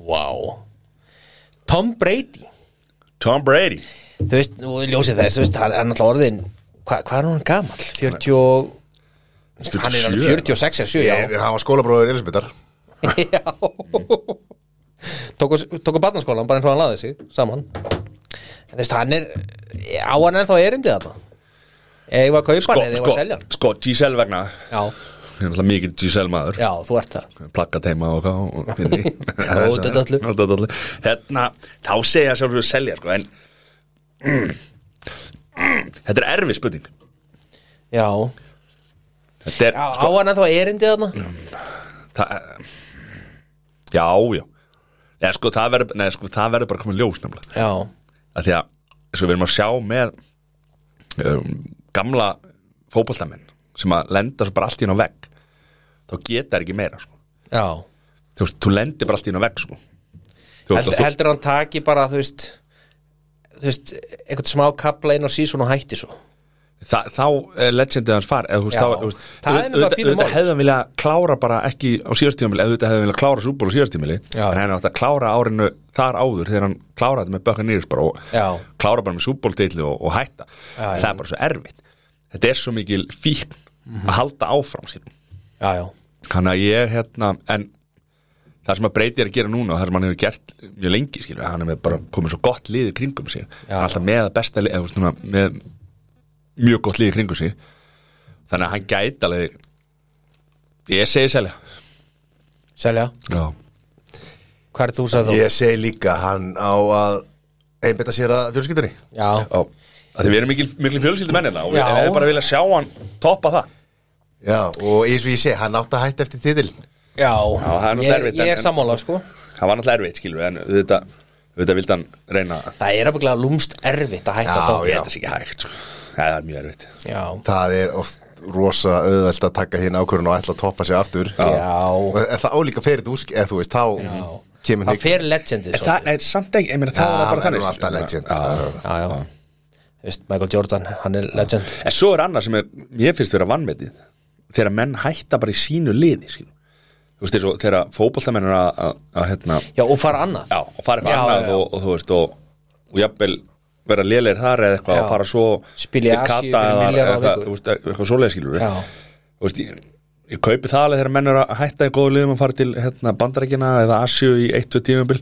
Speaker 2: wow Tom Brady
Speaker 3: Tom Brady
Speaker 2: þú veist, og í ljósið þess, þú veist, hann er náttúrulega orðin hva, hvað er hann gamall? 40 og hann er alveg 46 eða 7,
Speaker 1: Ég-
Speaker 2: já
Speaker 1: Hann var skólabróður Elisabethar
Speaker 2: *laughs* já tóku, tóku barnaskólan bara eins og hann laði sig saman en þú veist, hann er á hann ennþá erindi þetta eða ég var að kaupa hann eða ég var að selja hann
Speaker 3: sko, Giselle vegna
Speaker 2: já,
Speaker 3: Ég er náttúrulega mikið Giselle maður
Speaker 2: já, þú ert það
Speaker 3: plakka teima og hvað og-
Speaker 2: *laughs* Og út af öllu.
Speaker 3: Út af öllu. hérna, þá segja sjálfur að selja sko, en mm, mm, þetta er erfið spurning
Speaker 2: já,
Speaker 3: þetta er,
Speaker 2: á, á hann ennþá erindi þetta
Speaker 3: það, já, já Nei, sko, það verður nei, sko, það verður bara komið ljós nefnilega
Speaker 2: já,
Speaker 3: að því að, svo við erum að sjá með um, gamla fótboltamenn sem að lenda svo bara allt í hann á vegg þá geta það ekki meira sko.
Speaker 2: já
Speaker 3: þú veist, þú lendir bara allt í hann á vegg sko. þú,
Speaker 2: Held,
Speaker 3: þú,
Speaker 2: heldur hann taki bara, þú veist þú veist, einhvern smá kapla inn á sísun og hætti svo
Speaker 3: Þa, þá er legendið hans far eða, þú veist,
Speaker 2: Já.
Speaker 3: þá, þú veist,
Speaker 2: Það er
Speaker 3: auð-
Speaker 2: nefnilega
Speaker 3: auðvitað-
Speaker 2: pínu mál.
Speaker 3: auðvitað hefði hann vilja klára bara ekki á síðastímili, eða auðvitað hefði hann vilja klára súból á síðastímili,
Speaker 2: Já.
Speaker 3: en hann átti að klára árinu þar áður þegar hann kláraði þetta með bökka nýris bara og
Speaker 2: Já.
Speaker 3: klára bara með súbóldeitli og, og hætta
Speaker 2: Já, já.
Speaker 3: það er bara svo erfitt þetta er svo mikil fíkn að halda áfram sínum
Speaker 2: já, já,
Speaker 3: þannig að ég hérna en það sem að breyti er að gera núna og það sem hann hefur gert mjög lengi skilur, hann er með bara komið svo gott lið í kringum sig
Speaker 2: Já.
Speaker 3: alltaf með að besta lið eða, þú veist, svona, með mjög gott lið í kringum sig þannig að hann gæti alveg ég segi selja
Speaker 2: selja
Speaker 3: já,
Speaker 2: Hvað er þú sagði þú?
Speaker 1: Ég segi líka hann á að einbytta sér að fjölskyldunni
Speaker 2: Já,
Speaker 3: já. Því við erum mikil, mikil fjölskyldi menn hérna og við
Speaker 2: Já.
Speaker 3: erum bara að vilja sjá hann toppa það
Speaker 1: Já, og eins og ég segi, hann átt að hætta eftir titil
Speaker 2: já,
Speaker 3: það er nú
Speaker 2: ég,
Speaker 3: erfitt,
Speaker 2: ég er
Speaker 3: en-
Speaker 2: sammála sko
Speaker 3: það var náttúrulega erfitt skilur en þetta, þetta vildi hann reyna að
Speaker 2: Það er alveg lúmst erfitt að hætta
Speaker 1: Já,
Speaker 2: dómi
Speaker 3: þetta er ekki hægt sko. Já, það er mjög erfitt
Speaker 2: já,
Speaker 1: Það er oft rosa auðvelt að taka hérna ákvörðun og ætla að toppa sér aftur
Speaker 2: já,
Speaker 1: Og En það álíka fer þetta úsk, eða þú veist, þá kemur
Speaker 2: Það fer sko. legendið
Speaker 3: En
Speaker 2: svo
Speaker 3: það er samt ekki, ég meina það
Speaker 1: Já,
Speaker 3: var bara
Speaker 1: hann er
Speaker 3: þannig
Speaker 1: nú alltaf legend
Speaker 3: Já.
Speaker 2: Já, já Þú veist, Michael Jordan, hann er legend
Speaker 3: En svo er annað sem er, ég finnst vera vannmetið þegar menn hætta bara í sínu liði skilur. þú veist eins og þegar fótboltamenn er að, að, að hérna,
Speaker 2: Já, og fara annað
Speaker 3: já, og fara
Speaker 2: Já,
Speaker 3: eitthvað
Speaker 2: já,
Speaker 3: annað
Speaker 2: já.
Speaker 3: Og, og þú veist og, og jafnvel vera lélegir þar eða eitthvað
Speaker 2: Já.
Speaker 3: og fara svo
Speaker 2: Spila í
Speaker 3: til
Speaker 2: Asíu
Speaker 3: Kata
Speaker 2: fyrir
Speaker 3: eða-
Speaker 2: milljarða á
Speaker 3: eða
Speaker 2: viku.
Speaker 3: þú veist, eitthvað svoleið skilur
Speaker 2: Já.
Speaker 3: þú veist, ég, ég kaupi það alveg þegar menn er að hætta í góðu liðum að fara til hérna, bandarækina eða Asíu í 1-2 tímabil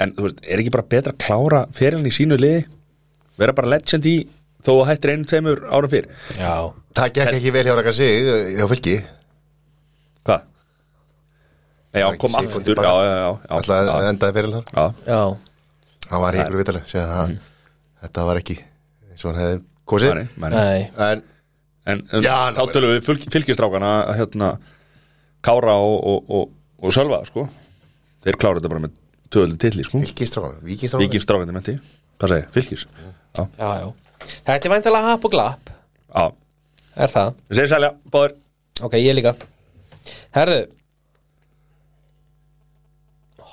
Speaker 3: en þú veist, er ekki bara betra að klára ferilin í sínu liði vera bara legend í þó að hættir einu tveimur árum fyrr
Speaker 2: Já,
Speaker 1: Það gekk ekki vel hjá Raka sig, eh, hjá fylki
Speaker 3: hvað? Nei,
Speaker 1: Það
Speaker 3: já,
Speaker 1: er
Speaker 3: kom
Speaker 1: ekki
Speaker 3: aftur,
Speaker 1: sekúndu
Speaker 3: já,
Speaker 1: baka.
Speaker 3: já, já, já,
Speaker 1: Ætla
Speaker 3: já,
Speaker 1: að endaði fyrir hann
Speaker 3: já.
Speaker 2: já,
Speaker 1: Hann var híkur vitali, segja það Þetta var ekki eins og hann hefði kosið
Speaker 3: Mæri, mæri.
Speaker 2: nei
Speaker 1: En
Speaker 3: en um,
Speaker 1: Já,
Speaker 3: þá
Speaker 1: ná,
Speaker 3: tölum við fylg, fylgistrákana hérna, Kára og, og, og, og Sölva sko. þeir klára þetta bara með töðaldi tilli sko.
Speaker 1: Vikistrákan, vikistrákan
Speaker 3: Víkings dráfandi menti, hvað segir, fylgis Já,
Speaker 2: já, já. Þetta er væntalega hap og glapp
Speaker 3: já,
Speaker 2: Er það?
Speaker 3: við segjum sælja, báður
Speaker 2: Ok, ég líka Herðu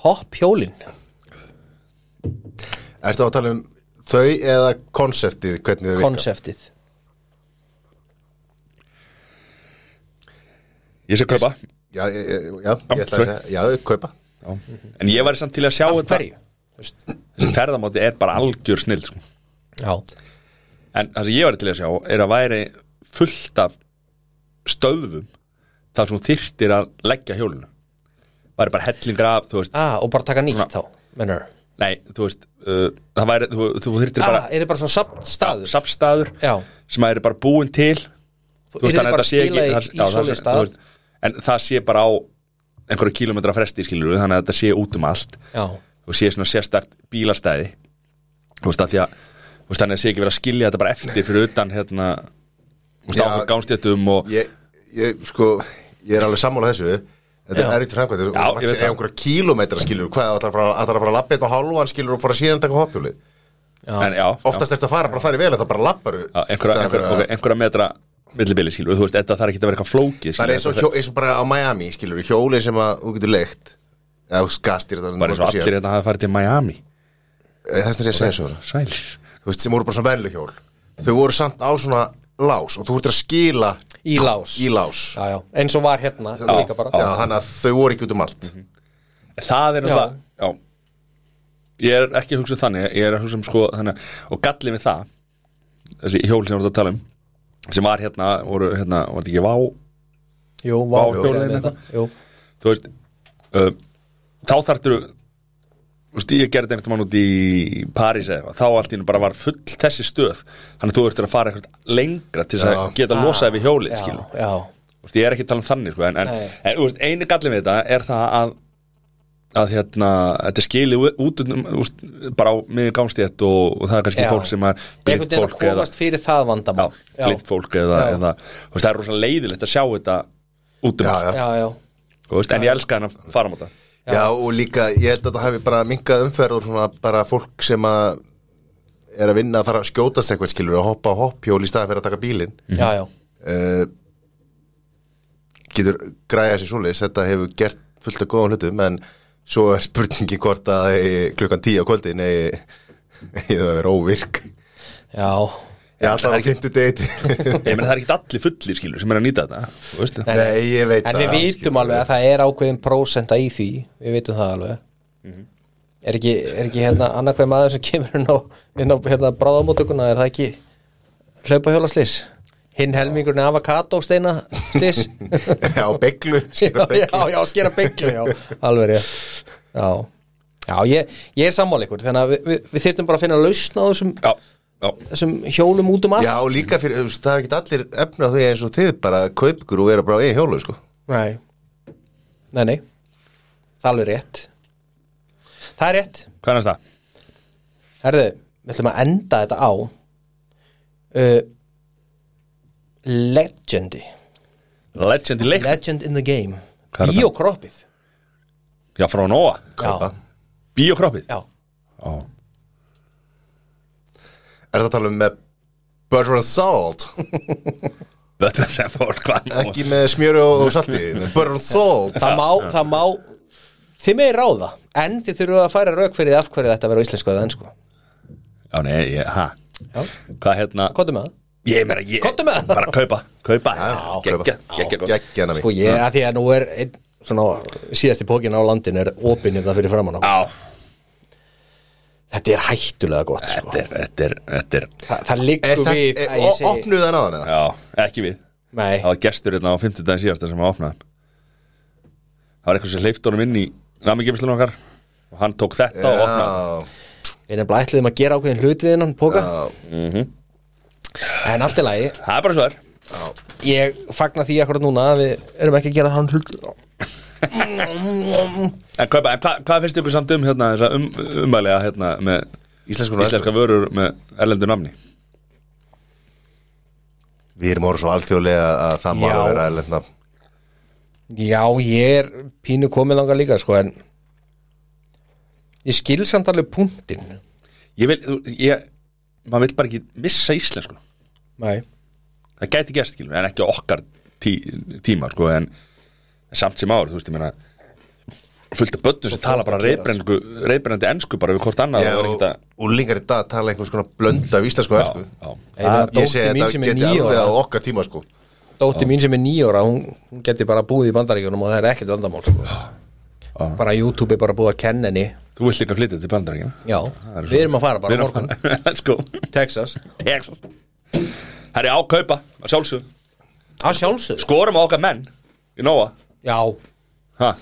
Speaker 2: Hopp hjólin
Speaker 1: Ertu að tala um þau eða konseptið, hvernig þau virka?
Speaker 2: Konseptið
Speaker 3: Ég sé kaupa,
Speaker 1: Já, ég- ég- já, ég ætla að
Speaker 3: þau.
Speaker 1: segja, já, kaupa
Speaker 3: já. en ég væri samt til að sjá
Speaker 2: Af
Speaker 3: þetta
Speaker 2: hverju? Þú veist,
Speaker 3: þessi ferðamáti er bara algjör snill sko.
Speaker 2: Já,
Speaker 3: en það sem ég væri til að sjá er að væri fullt af stöðvum þar sem þú þyrtir að leggja hjólinu væri bara hellingar af þú veist,
Speaker 2: ah, og bara taka nýtt þá Menur
Speaker 3: nei, þú veist uh, það væri, þú, þú þyrtir
Speaker 2: ah,
Speaker 3: bara
Speaker 2: Er þið bara svona samt staður?
Speaker 3: safstaður
Speaker 2: Já,
Speaker 3: sem væri bara búin til þú
Speaker 2: Yrði
Speaker 3: veist, þannig að
Speaker 2: bara
Speaker 3: þetta sé ekki
Speaker 2: skilað í-
Speaker 3: það-
Speaker 2: í
Speaker 3: já, það
Speaker 2: svoleiðis
Speaker 3: sé-
Speaker 2: stað?
Speaker 3: þú veist, en það sé bara á einhverju kílómetra fresti skilur við þannig að þetta sé út um allt
Speaker 2: já,
Speaker 3: og sé svona sérstakt bílastæði þú veist að því að þú veist, þannig að sé ekki verið að skilja þetta bara eftir fyrir utan hérna þú veist,
Speaker 1: Já.
Speaker 3: ákveð gánstjættum og
Speaker 1: ég, ég, sko, ég er alveg sammála þessu Þetta
Speaker 2: Já.
Speaker 1: er erfitt framkvæmt
Speaker 3: Já, ég
Speaker 1: Þetta
Speaker 3: veit
Speaker 1: er
Speaker 3: það.
Speaker 1: einhverja kílómetra skilur Hvað, ætlar að fara ætlar að fara að labba einn og hálfan skilur og fara síðan að taka hoppjólið
Speaker 2: já,
Speaker 3: en, já, já,
Speaker 1: Oftast ertu að fara bara þar í vel að það bara labbaru
Speaker 3: já, einhverja, einhverja, okay, einhverja metra millibili skilur, við, þú veist, þetta þarf ekki að vera eitthvað
Speaker 1: Það er
Speaker 3: flókið skilur,
Speaker 1: eins og,
Speaker 3: þetta
Speaker 1: hjó, eins og bara á Miami skilur Hjólið sem að þú getur leikt Eða þú skastir þetta
Speaker 3: bara eins og allir hérna hafa farið til Miami
Speaker 1: Eh, Þess að ég að segja svo
Speaker 3: sæl,
Speaker 1: Þú veist, sem voru bara svona veljuhjól Þau voru samt á svona lás Og þú ert að skila
Speaker 2: í lás
Speaker 1: í lás
Speaker 2: Já, já, eins og var hérna líka bara Mhm.
Speaker 1: Já, þannig að þau voru ekki út um allt
Speaker 3: það er
Speaker 2: Já.
Speaker 3: það já. ég er ekki að hugsa um þannig ég er að hugsa um sko, þannig að, og gallið við það þessi hjól sem við erum að tala um sem var hérna, voru hérna, var þetta ekki vá
Speaker 2: Jú, vá,
Speaker 3: Vá,
Speaker 2: jú,
Speaker 3: hjólin
Speaker 2: hérna,
Speaker 3: eitthvað.
Speaker 2: jú.
Speaker 3: þú veist uh, þá þarftur þú veist, ég gerði einhvern mann út í París eða eitthvað, þá allt í hennu bara var full þessi stöð, þannig að þú ertur að fara eitthvað lengra til þess að
Speaker 1: Já.
Speaker 3: geta losað við hjólið,
Speaker 2: Já,
Speaker 3: skilur,
Speaker 2: já,
Speaker 3: þú veist, ég er ekki að tala um þannig, sko, en, en,
Speaker 2: Nei.
Speaker 3: en þú veist, eini gallin við þetta er það að að hérna, þetta er skilið ú- út um, úst, bara á miður gámstétt og, og það er kannski
Speaker 2: Já.
Speaker 3: fólk sem er
Speaker 2: einhvern
Speaker 3: blind
Speaker 2: veginn að
Speaker 3: fólk eða,
Speaker 2: komast fyrir það vandamál
Speaker 3: já, blind fólk eða,
Speaker 2: Já.
Speaker 3: eða þú veist, það er rosalega leiðilegt að sjá þetta út um
Speaker 1: Já,
Speaker 3: allt,
Speaker 1: já.
Speaker 2: já, já,
Speaker 3: þú veist, en ég elska hann að fara á þetta
Speaker 1: Já, og líka, ég held að þetta hafi bara minkað umferð og svona bara fólk sem að er að vinna að fara að skjótast eitthvað skilur og hoppa á hoppjól í staðan fyrir að taka bílinn
Speaker 3: Mhm.
Speaker 2: já, já.
Speaker 1: uh, getur græja sér svoleiðis, þetta hefur gert fullt af góðan hlutum, en svo er spurningi hvort að eh, klukkan 10 á kvöldin eh, *laughs* eða verið óvirk
Speaker 2: Já,
Speaker 1: ég ætla á 50 date
Speaker 3: Ég meina það er ekki allir fullir skilur sem er að nýta þetta þú veist það.
Speaker 1: Nei, ég veit
Speaker 2: en
Speaker 1: það,
Speaker 2: við vitum
Speaker 1: skilur.
Speaker 2: alveg að það er ákveðin prósenta í því Við vitum það alveg
Speaker 1: Mhm.
Speaker 2: er, ekki, er ekki hérna annarkveð maður sem kemur inn á, inn á hérna, bráðamótökuna Er það ekki hlaupa hjóla slis? Hinn helmingurinn er avokado steina
Speaker 1: *laughs*
Speaker 2: slis?
Speaker 1: *laughs* Já, beglu,
Speaker 2: *laughs* já,
Speaker 1: skilur beglu
Speaker 2: já, já, skera bygglu, já Alveg rétt Já, já ég, ég er sammála ykkur Þannig að við, við, við þyrftum bara að finna lausn á þessum,
Speaker 3: Já, já,
Speaker 2: þessum hjólum út um allt
Speaker 1: Já, og líka fyrir, þú veist, það er ekki allir efna því eins og þið bara kaup ykkur og vera bara á eigin hjólu, sko
Speaker 2: Nei Nei, nei Það er alveg rétt Það er rétt
Speaker 3: hvað er næst það?
Speaker 2: Herðu, við ætlum að enda þetta á uh, Legendi
Speaker 3: Legend í leik
Speaker 2: Legend in the game
Speaker 3: Hvað er þetta?
Speaker 2: Bíokroppið
Speaker 3: Já, frá Nóa,
Speaker 1: Kaupa.
Speaker 2: Já,
Speaker 3: bíokroppið
Speaker 2: já
Speaker 3: Já,
Speaker 1: Er það að tala um með butter and salt
Speaker 3: þetta er sem fór hvað er Nóa?
Speaker 1: ekki með smjöru og salti með butter and salt
Speaker 2: Það má, það má Þið megir ráða En þið þurfum að færa rauk fyrir því af hverju þetta verður á íslensku eða ennsku
Speaker 3: Já, nei, ég, ha
Speaker 2: Já,
Speaker 3: Hvað hérna?
Speaker 2: kottum með það
Speaker 3: Ég meina, ég
Speaker 2: Komdu með það.
Speaker 3: Bara kaupa, kaupa
Speaker 1: Já,
Speaker 3: Gekka,
Speaker 1: kaupa.
Speaker 3: gekka gott
Speaker 1: Geggjana
Speaker 2: Sko
Speaker 1: mín
Speaker 2: ég, að því að nú er einn, svona, síðasti pókin á landin er opinn hérna fyrir framann á
Speaker 3: Já,
Speaker 2: Þetta er hættulega gott sko.
Speaker 3: þetta er, þetta er, þetta er
Speaker 2: Þa, það liggur
Speaker 1: Er
Speaker 2: við
Speaker 1: það,
Speaker 2: að ég segi
Speaker 1: opnuð það náðan eða?
Speaker 3: Já, ekki við
Speaker 2: Nei,
Speaker 3: Það var gestur hérna á 50 daginn síðasta sem að opna hann Það var eitthvað sem hleyft honum inn í Namingemislunum okkar Og hann tók þetta og opnaði hann.
Speaker 1: Já,
Speaker 2: við erum bara ætliðum að gera ákveðin hlut við hennan póka
Speaker 1: já,
Speaker 2: En allt í lagi,
Speaker 3: Mhm. Það er bara svo þær
Speaker 2: ég fagna því akkurat núna að við erum ekki að gera hann hlut
Speaker 3: En hvað, en hvað, hvað finnst ykkur samt um hérna, þessa um, umælega hérna, með
Speaker 1: Íslenskunar.
Speaker 3: íslenska vörur með erlendu namni?
Speaker 1: Við erum orðið svo alþjóðlega að það má
Speaker 2: Já.
Speaker 1: vera erlendna
Speaker 2: Já, ég er pínu komið langar líka sko en ég skil samt alveg punktin
Speaker 3: Ég vil, þú, ég maður vil bara ekki missa íslensku
Speaker 2: Nei,
Speaker 3: það gæti gerst, skilur, en ekki okkar tí, tíma, sko, en samt sem áður, þú veist, ég meina fullt af bönnum sem tala bara reybrennandi, reybrennandi ensku bara við hvort annað
Speaker 1: Já,
Speaker 3: það er
Speaker 1: og,
Speaker 3: ekkert að-
Speaker 1: og lengar í dag tala einhvers konar blönda af íslensku sko. og ensku
Speaker 3: já, já.
Speaker 2: Eða
Speaker 1: Ég segi að
Speaker 2: dótti mín
Speaker 1: það
Speaker 2: sem er
Speaker 1: geti
Speaker 2: nýja
Speaker 1: alveg á
Speaker 2: ára
Speaker 1: okkar tíma sko
Speaker 2: Dótti mín sem er nýja ára, hún, hún geti bara búið í bandaríkjunum og það er ekkert vandamál sko Bara YouTube er bara búið að kenna henni
Speaker 3: þú vilt líka flytja til bandarækina
Speaker 2: Já,
Speaker 3: er
Speaker 2: við erum að fara bara á morgun
Speaker 3: *laughs* let's go
Speaker 2: Texas,
Speaker 3: Texas Herri, á kaupa, að sjálfsög
Speaker 2: að sjálfsög
Speaker 3: skorum á okkar menn í Nóa
Speaker 2: Já,
Speaker 3: ha.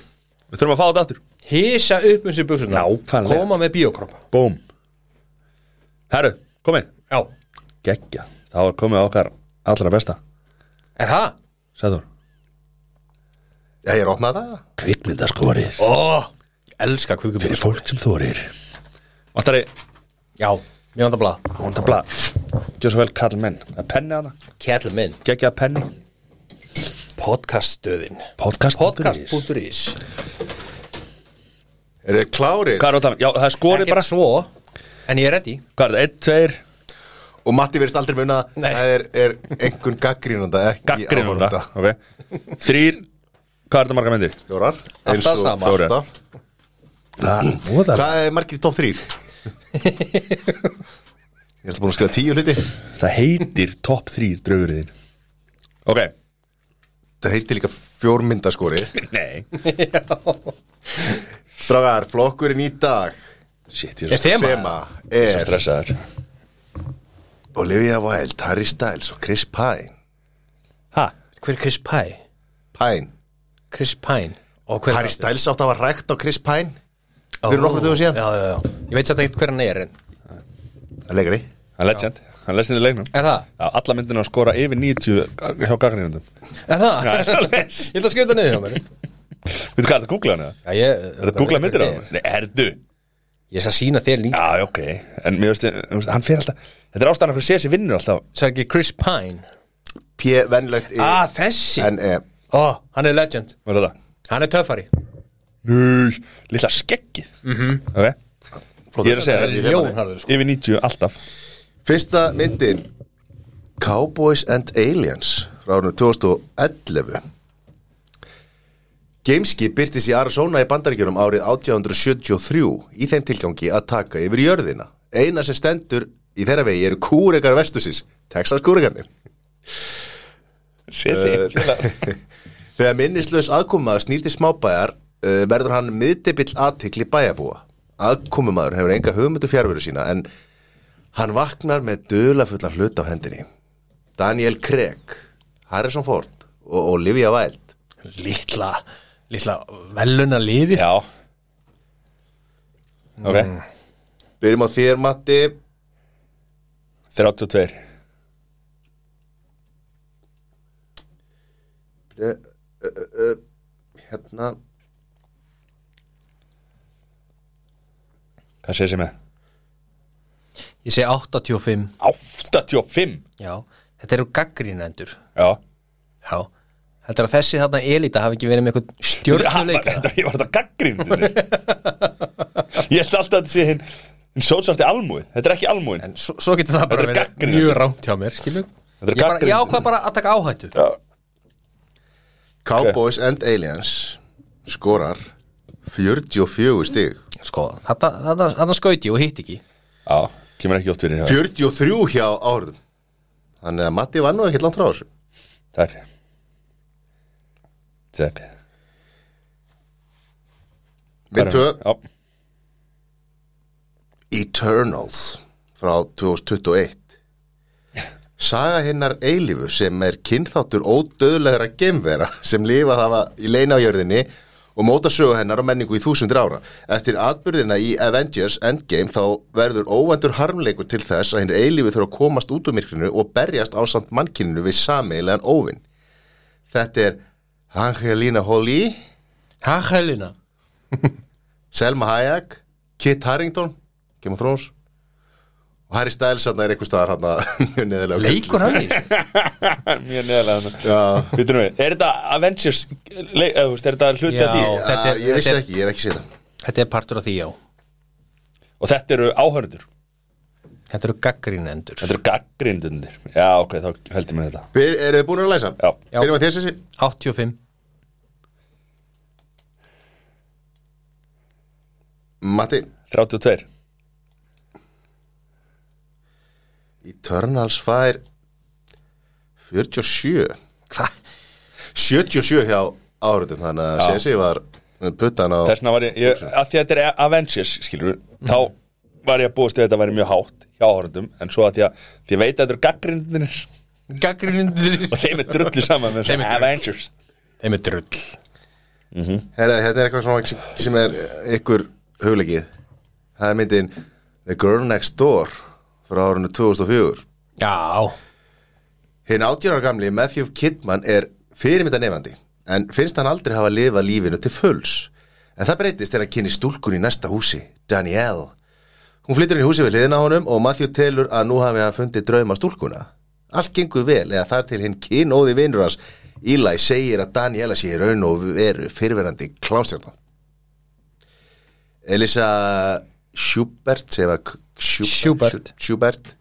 Speaker 3: við þurfum að fá þetta aftur
Speaker 2: hisa upp um sér buksuna
Speaker 3: Nákvæmlega.
Speaker 2: Koma með bíokropp
Speaker 3: Búm Herru, komið,
Speaker 2: Já,
Speaker 3: geggja þá er komið okkar allra besta
Speaker 2: er það?
Speaker 3: Sæður
Speaker 1: Já, ég er opnað það
Speaker 3: Kvikmyndaskorið
Speaker 2: Ó, ég elska sko. kvikum
Speaker 3: Fyrir fólk sem þorir Vantari,
Speaker 2: Já, mjög vandablað
Speaker 3: hónda blað Gjör svo vel kall menn Að penni hana,
Speaker 2: Kjellminn,
Speaker 3: geggja að penni
Speaker 2: podcaststöðin
Speaker 3: Podcast,
Speaker 2: podcast.is
Speaker 1: Er þið klárir?
Speaker 3: Hvað er það? Já, það er skorið
Speaker 2: Ekkert
Speaker 3: bara
Speaker 2: svo, en ég er ready
Speaker 3: Hvað er það? 1, 2,
Speaker 1: Og Matti verðist aldrei muna að
Speaker 2: Nei.
Speaker 1: Það er, er einhvern gaggrínunda ekki
Speaker 3: gaggrinn
Speaker 1: áhorfanda.
Speaker 3: okay. Þrýr, hvað er það marga myndir?
Speaker 1: Fjórar Eins
Speaker 2: Alltaf
Speaker 1: og
Speaker 2: sama.
Speaker 1: fjórar.
Speaker 3: Alltaf. Það, nú er það
Speaker 1: Hvað er margir í top
Speaker 2: *laughs*
Speaker 1: 3? Ég ætla búin að skrifa tíu hluti
Speaker 3: Það heitir top 3 draugurðin Ok,
Speaker 1: Það heitir líka fjórmyndaskori
Speaker 3: nei
Speaker 1: Strágar, flokkurinn í dag
Speaker 3: Shit, ég
Speaker 2: Er
Speaker 3: er svo,
Speaker 2: þema?
Speaker 1: Þema
Speaker 3: ég er svo
Speaker 1: er
Speaker 3: stressaður
Speaker 1: Olivia Wilde, Harry Styles og Chris Pine
Speaker 3: Ha?
Speaker 2: Hver er Chris Pine?
Speaker 1: Pine
Speaker 2: Chris Pine Og hver er
Speaker 1: Harry
Speaker 2: aftur?
Speaker 1: Styles átt að hafa rækt á Chris Pine
Speaker 2: Ó,
Speaker 1: fyrir nokkrum dögum síðan.
Speaker 2: Já, já, já Ég veit satt ekkert hver hann er en
Speaker 1: Það er leikari
Speaker 3: Hann er legend, hann lesnir í leiknum
Speaker 2: Er það?
Speaker 3: Já, alla myndina skora yfir 90 hjá gaggrínundum
Speaker 2: Er
Speaker 3: *laughs*
Speaker 2: það?
Speaker 3: Já,
Speaker 2: ég
Speaker 3: svoleiðis.
Speaker 2: ætla að skjóta niður á mér Já,
Speaker 3: Veitu hvað, er það að googla hann eða?
Speaker 2: ég
Speaker 3: Er það að googla myndir á hann? Nei, erðu
Speaker 2: Ég skal sína þér líka
Speaker 3: Já, ok, en mér veist, þú veist, hann fer alltaf Þetta er ástæðan fyrir að sé þessi vinnur alltaf
Speaker 2: Svo er ekki Chris Pine
Speaker 1: P. Venlegt í
Speaker 2: Ah, þessi
Speaker 1: En eh,
Speaker 2: Ó, hann er legend
Speaker 3: Var þetta?
Speaker 2: Hann er töffari Mm.
Speaker 3: Nei, lilla skeggið
Speaker 2: Mhm.
Speaker 3: Ok, ég er að segja
Speaker 1: Þetta í
Speaker 3: þér,
Speaker 1: þeim
Speaker 2: Jón
Speaker 1: manni.
Speaker 2: harður sko
Speaker 3: Yfir 90 alltaf
Speaker 1: Fyrsta myndin Cowboys and Aliens frá árunum 2011 Gameskip byrtist í Arizona í bandaríkjunum árið 1873 í þeim tilgangi að taka yfir jörðina Eina sem stendur í þeirra vegi eru kúrekar vestusins Texas kúrekarnir
Speaker 3: Sér sér
Speaker 1: Þegar minnislaus aðkomumaður snýr til smábæjar uh, verður hann miðdebill aðtikli bæjabúa. Aðkomumaður hefur enga hugmyndu fjárveru sína en hann vaknar með dölafulla hlut á hendinni. Daniel Craig, Harrison Ford og Olivia Wilde.
Speaker 2: Lítla Lítla veluna liðið
Speaker 3: Já Ok,
Speaker 2: Mm.
Speaker 1: Byrjum á þér, Matti.
Speaker 3: 32
Speaker 1: Uh, uh, uh, hérna,
Speaker 3: Hvað sér sér með?
Speaker 2: Ég segi 85
Speaker 3: 85
Speaker 2: Já Þetta eru gaggrínendur
Speaker 3: Já
Speaker 2: Já Þetta er að þessi þarna elita hafi ekki verið með eitthvað stjórnuleika
Speaker 3: Þetta ég var þetta gaggrind Ég held alltaf að þetta sé hinn hinn sótsvarti almúi, þetta er ekki almúin
Speaker 2: En svo, svo getur það bara
Speaker 3: er
Speaker 2: verið
Speaker 3: gagnrýnendur.
Speaker 2: mjög rámt hjá mér, skilur
Speaker 3: Þetta er
Speaker 2: Ég, bara, ég
Speaker 3: gagnrýnendur.
Speaker 2: ákvað bara að taka áhættu
Speaker 1: Cowboys and Aliens skorar 44 stig.
Speaker 2: Sko, þarna- þarna þarna skaut ég og hitt ekki
Speaker 3: Já, kemur ekki oft fyrir
Speaker 1: 43 hjá áhrifum. Þannig að Matti var nú ekkert langt frá þessu.
Speaker 3: Takk Takk
Speaker 1: Mynd 2.
Speaker 3: Já,
Speaker 1: Eternals frá 2021 Saga hinnar eilifu sem er kynþáttur ódöðlegra gemvera sem lifað hafa í leina á jörðinni og móta sögu hennar og menningu í þúsundir ára. Eftir atbyrðina í Avengers Endgame þá verður óvendur harmleikur til þess að hinn eilifu þurfa að komast út úr myrkrinu og berjast á samt mannkyninu við sameigilegan óvinn. Þetta er Angelina Jolie,
Speaker 2: Ha, hælina
Speaker 1: Selma Hayek, Kit Harington, Game of Thrones og Harry Styles hann er einhver staðar hann *laughs* að neðilega
Speaker 2: leikur *laughs* hann í
Speaker 3: Mjög neðalega
Speaker 1: Já,
Speaker 3: Býtum við, er þetta Avengers leik, eða, þú veist, er þetta hluti af
Speaker 2: Já.
Speaker 3: því
Speaker 1: já
Speaker 2: Þetta er-
Speaker 1: ég vissi
Speaker 2: þetta er-
Speaker 1: ekki, ég hef ekki séð það
Speaker 2: þetta er partur af því já
Speaker 3: og þetta eru áhörður
Speaker 2: þetta eru gaggrínendur
Speaker 3: þetta eru gaggrindunnir já ok, þá heldur mér þetta
Speaker 1: Byr, Eru þið búin að læsa?
Speaker 3: Já.
Speaker 2: Já.
Speaker 1: Byrjum að þér sér
Speaker 2: 85
Speaker 1: Matti
Speaker 3: 32
Speaker 1: Eternals fær 47
Speaker 2: hvað
Speaker 1: 77 hjá áhverjum þannig að
Speaker 3: Já.
Speaker 1: Sessi var puttan á
Speaker 3: þessna var ég, ég að því að þetta er Avengers skilur þá var ég að búast við að þetta væri mjög hátt hjá áhörðum en svo að því að því að veit að þetta eru gaggrindunir
Speaker 2: gaggrínendur
Speaker 3: *laughs* og þeim er drulli saman með
Speaker 2: Þeim
Speaker 3: þessu
Speaker 2: er drull.
Speaker 3: Avengers
Speaker 2: þeim er drull
Speaker 1: Herra, þetta er eitthvað svona sem er ykkur hugleikið Það er myndin The Girl Next Door frá árunni 2004
Speaker 2: já
Speaker 1: Hinn átján ára gamli Matthew Kidman er fyrirmynda nefandi en finnst hann aldrei hafa lifað lífinu til fulls en það breytist þegar hann kynni stúlkun í næsta húsi, Danielle Hún flyttur inn í húsi við hliðina á honum og Matthew telur að nú hafi hann fundið drauma stúlkuna. Allt gengur vel eða þar til hinn kynóði vinur hans Eli segir að Daniela sé í raun og veru fyrirverandi klámstjarnan. Elisa Schubert, segja það, Schubert,
Speaker 2: Schubert.
Speaker 1: Schubert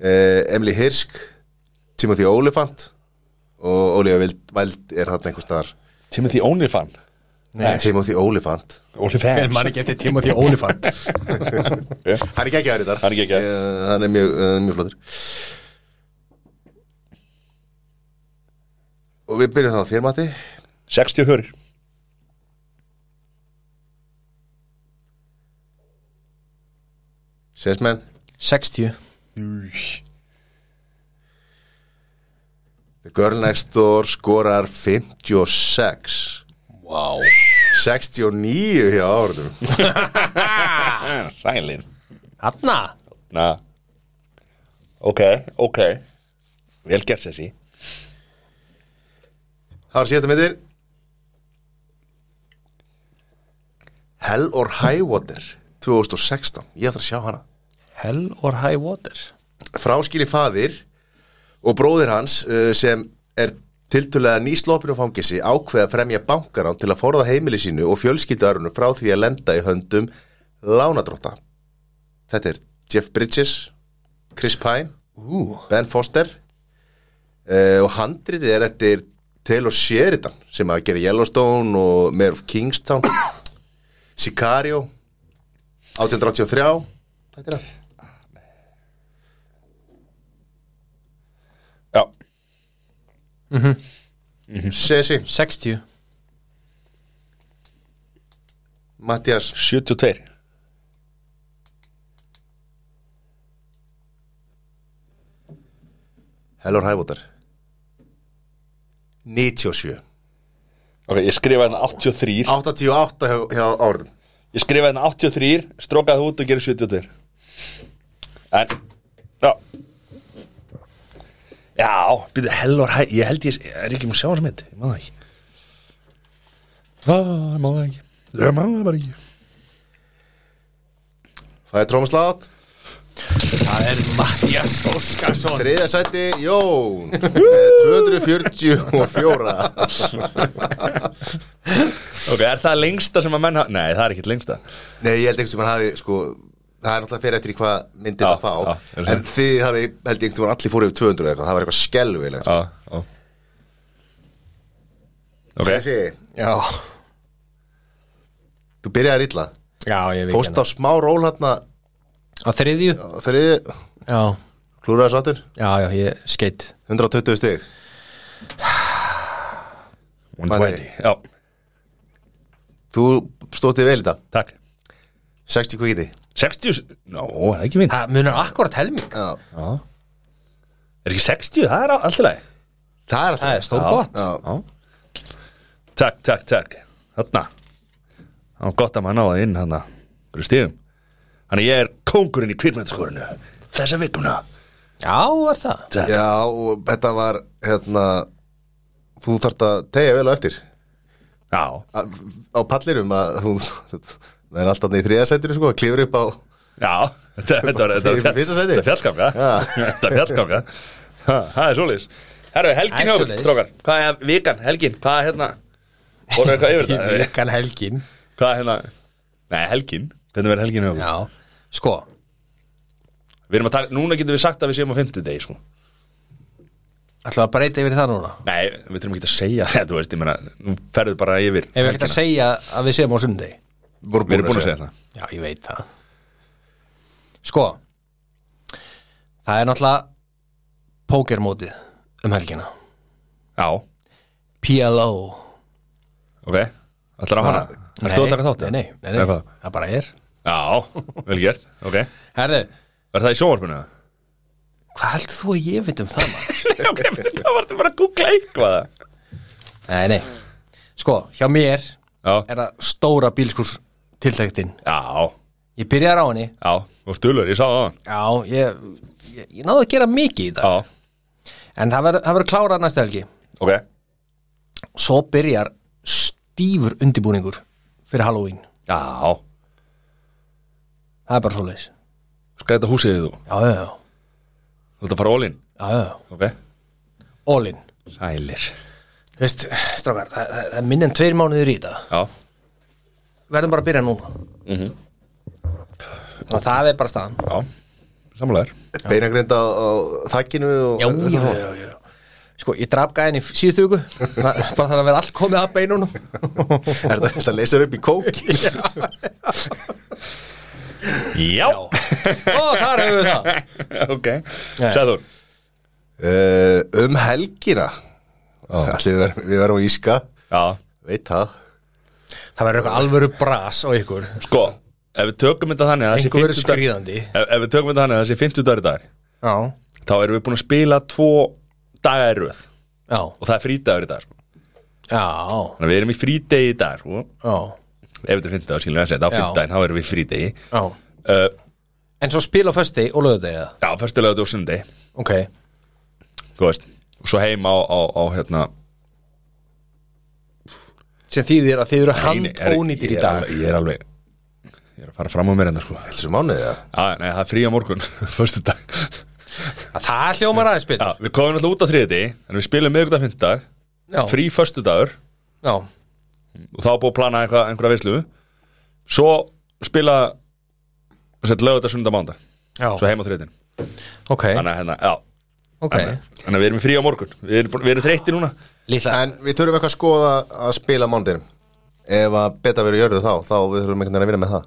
Speaker 1: uh, Emily Hirsk, Timothy Olyphant og Olivia Wild, Wild er þarna einhvers staðar.
Speaker 3: Timothy Olyphant
Speaker 1: Timothy Olyphant.
Speaker 2: en
Speaker 3: Olyphant
Speaker 2: mann ekki eftir tíma því ónifant
Speaker 1: Hann er geggjaður í þar
Speaker 3: Hann er geggjaður.
Speaker 1: Hann er mjög, uh, mjög flottur Og við byrjum þá að þér Matti
Speaker 3: 60 hörur
Speaker 1: Sessmenn
Speaker 2: 60
Speaker 1: Girl Next Door skorar 56
Speaker 2: wow
Speaker 1: 69 hjá árunum
Speaker 3: Sælin
Speaker 2: hanna
Speaker 3: Na. ok, ok vel gert þessi
Speaker 1: Það var síðasta myndir Hell or High Water 2016, ég ætla að sjá hana
Speaker 2: hell or high water
Speaker 1: fráskilin faðir og bróðir hans uh, sem er tiltölulega nýslopinu fangisi ákveða að fremja bankarán til að forða heimili sínu og fjölskyldarunum frá því að lenda í höndum lánadrótta. Þetta er Jeff Bridges, Chris Pine,
Speaker 2: ú
Speaker 1: Ben Foster uh, og handritið er eftir Taylor Sheridan sem að gera Yellowstone og Mayor of Kingstown, *coughs* Sicario, 1883, þetta er það.
Speaker 3: já,
Speaker 1: Sesi,
Speaker 2: 60
Speaker 1: Mattias,
Speaker 3: 72
Speaker 1: Hellor Hævotar 97
Speaker 3: ok, ég skrifa hérna 83
Speaker 1: 88 hjá, hjá árum
Speaker 3: Ég skrifaði hérna 83, strókaði það út og gerði 72 En Já Já, byrðu hellor hæ Ég held ég, er ekki mér sjá hans mitt Ég man það ekki Já, ég man það ekki Ég man það bara ekki
Speaker 1: Það er trómslátt
Speaker 2: það er Mattias Óskarsson
Speaker 1: Þriðja sæti, Jón
Speaker 3: *laughs*
Speaker 1: með 244
Speaker 3: Ok, er það lengsta sem að menn hafa Nei, það er ekkert lengsta
Speaker 1: Nei, ég held einhvers veginn hafi sko Það er náttúrulega fyrir eftir í hvað myndir
Speaker 3: Já,
Speaker 1: það fá
Speaker 3: já, er það.
Speaker 1: En þið hafi, held ég einhvers veginn allir fóru yfir 200 eða eitthvað Það var eitthvað skelvilegt
Speaker 3: Já, já Ok,
Speaker 1: Sessi,
Speaker 2: já
Speaker 1: þú byrjaðir illa
Speaker 2: já ég veit
Speaker 1: Fóst á smá ról hérna
Speaker 2: á þriðju
Speaker 1: Þriði,
Speaker 2: já
Speaker 1: klúraði sáttur
Speaker 2: já já ég skeitt
Speaker 1: 120 stig
Speaker 3: 120 Já,
Speaker 1: Þú stóðst þig vel í þetta
Speaker 3: takk
Speaker 1: 60 kvíti
Speaker 3: 60, no, það er ekki minn
Speaker 2: það munar akkurat helming
Speaker 1: Já,
Speaker 3: Er ekki 60, það er alltaf leið
Speaker 1: það er alltaf
Speaker 2: það er stór gott
Speaker 1: Já,
Speaker 3: Takk, takk, takk Þarna Það var gott að maður náði inn hann Hverju stíðum Þannig að ég er kóngurinn í kvikmyndaskórinu Þessa vikuna
Speaker 2: já er það
Speaker 1: Já, og þetta var hérna, þú þarft að tegja vel á eftir
Speaker 3: Já
Speaker 1: *laughs* að, á pallinum að þú það er alltaf í þriðasættinu sko, klifur upp á
Speaker 3: Já, þetta þetta var þetta var-
Speaker 1: Í fyrsta sæti?
Speaker 3: þetta er fjallskanga
Speaker 1: Já.
Speaker 3: Þetta er fjallskanga Ha, Það er svoleiðis Herru, helgin
Speaker 2: Það er
Speaker 3: hjá okkur,
Speaker 2: svoleiðis.
Speaker 3: strókar Hvað er vikan, helgin, hvað er hérna Voru eitthvað yfir þetta
Speaker 2: Vikan helgin
Speaker 3: Hvað er hérna Nei, helgin, hvernig verður helgin hjá okkur
Speaker 2: Já, sko
Speaker 3: Við erum að tala, núna getum við sagt að við séum á fimmtudegi sko.
Speaker 2: Ætlaðu að breyta yfir það núna
Speaker 3: Nei, við þurfum ekki að segja þetta, þú veist, ég meina Nú ferðu bara yfir
Speaker 2: Ef við ekkert að segja að við séum á sundi
Speaker 1: Voru
Speaker 3: Við erum búin að segja það
Speaker 2: Já, ég veit það Sko Það er náttúrulega pókermótið um helgina
Speaker 3: Já,
Speaker 2: PLO
Speaker 3: ok, ætlar á hana Erst þú að taka þátt? eða?
Speaker 2: Nei, nei, nei,
Speaker 3: Eða
Speaker 2: nei.
Speaker 3: hvað?
Speaker 2: það bara er
Speaker 3: Já, vel gert, ok
Speaker 2: Herðu,
Speaker 3: Er það í sjónvarpinu? eða?
Speaker 2: hvað heldur þú að ég veit um það? maður?
Speaker 3: *laughs* Nei, ok, það vartu bara að googla eitthvað
Speaker 2: nei, nei Sko, hjá mér
Speaker 3: Já,
Speaker 2: er það stóra bílskurs tiltæktin
Speaker 3: já,
Speaker 2: Ég byrjar á henni
Speaker 3: já, og stulur, ég sá það á hann
Speaker 2: Já, ég, ég, ég náðu að gera mikið í dag
Speaker 3: Já,
Speaker 2: En það verður- það verður klárað næstu helgi
Speaker 3: ok,
Speaker 2: Svo byrjar stífur undibúningur fyrir Halloween
Speaker 3: já
Speaker 2: Það er bara svoleiðis
Speaker 3: Skal þetta húsið þú?
Speaker 2: Já, já, já,
Speaker 3: Þú ert að fara ólinn?
Speaker 2: já, já.
Speaker 3: Ok
Speaker 2: All in
Speaker 3: Sælir
Speaker 2: Þú veist, strákar, það, það, það er minn en tveir mánuður í þetta
Speaker 3: Já,
Speaker 2: Verðum bara að byrja núna mm -hmm. Það er bara staðan
Speaker 3: já, samlegar
Speaker 1: Beinagrind á, á þakkinu og,
Speaker 2: Já, já, já, já Sko, ég draf gæðin í síðustu viku Það- Bara þannig að vera allt komið að beinunum
Speaker 1: *laughs*
Speaker 2: *laughs*
Speaker 1: Er þetta- þetta leysir upp í
Speaker 3: *laughs*
Speaker 1: kóki?
Speaker 3: Já,
Speaker 2: Ó, þar hefur við það
Speaker 3: *laughs* ok Sæður
Speaker 1: uh, Um helgina Allir við, verðum- við verðum að íska
Speaker 3: Já,
Speaker 1: Veit það
Speaker 2: Það verður eitthvað alvöru bras á ykkur
Speaker 3: sko, ef við tökum þetta þannig að það sé
Speaker 2: Einhver verður
Speaker 3: 50 dag-
Speaker 2: skrýðandi
Speaker 3: ef, ef við tökum þetta þannig að það sé 50 dagar í dag
Speaker 2: Já,
Speaker 3: Þá erum við búin að spila tvo daga í röð Og
Speaker 2: já,
Speaker 3: það er frídagur í dag sko.
Speaker 2: já,
Speaker 3: Þannig að við erum í frídegi í dag sko.
Speaker 2: já,
Speaker 3: Ef þetta er 50 dagar, skilum við að segja, þá
Speaker 2: Já.
Speaker 3: 50 daginn, þá erum við í frídegi
Speaker 2: já
Speaker 3: uh,
Speaker 2: En svo spil á fösti og lögðu eða?
Speaker 3: Já, fyrstulega þetta og sundi
Speaker 2: Ok,
Speaker 3: þú veist, og svo heim á, á, á hérna
Speaker 2: sem þýðir að þið eru
Speaker 3: eini- er-
Speaker 2: handónýtir
Speaker 3: ég
Speaker 2: í
Speaker 3: er
Speaker 2: dag
Speaker 3: alveg- Ég er alveg, ég er að fara fram á mér hérna sko
Speaker 1: Þessu um mánuðið það
Speaker 3: Já, nei, það er frí á morgun, *laughs* förstu dag
Speaker 2: Það hljómar aðeins spil
Speaker 3: Já, við komum alltaf út á þriði En við spilum miðvikudag fyndag
Speaker 2: Já,
Speaker 3: Frí förstu dagur
Speaker 2: já,
Speaker 3: Og þá er búið að plana einhvað, einhverja veislu Svo spila Sett lögða sunda mánda
Speaker 2: já,
Speaker 3: Svo heim á þriðin
Speaker 2: ok,
Speaker 3: Þannig að hérna, já
Speaker 2: ok
Speaker 3: Þannig að við erum í frí á morgun Við erum, búin- við erum þreytti núna
Speaker 2: Líkla,
Speaker 1: En við þurfum eitthvað að skoða að spila mándinum Ef að beta verið jörðu þá Þá við þurfum einhvern veginn að vinna með það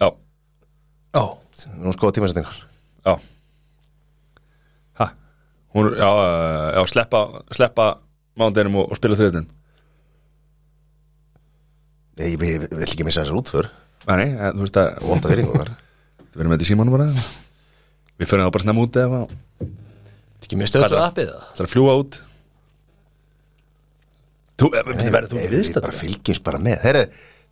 Speaker 3: Já,
Speaker 2: já,
Speaker 1: Við erum að skoða tímasettingar
Speaker 3: já Ha, hún, já, já, já sleppa, sleppa mándeginum og, og spila þriðin
Speaker 1: Nei, ég ég- ég vil ekki missa þessar útför
Speaker 3: Nei, Nei, eh, þú veist að
Speaker 1: Vonda veringu okkar
Speaker 3: Við erum með *laughs* þetta í símanum bara Við fyrir það bara snemma út eða Það
Speaker 2: þetta ekki mjög stöðlu
Speaker 3: Hvað er það?
Speaker 2: appið það
Speaker 3: er að fljúa út Þú, eh, bíddu, verður þú
Speaker 1: Nei, Við
Speaker 3: viðstætt?
Speaker 1: bara fylgjumst bara með Heri,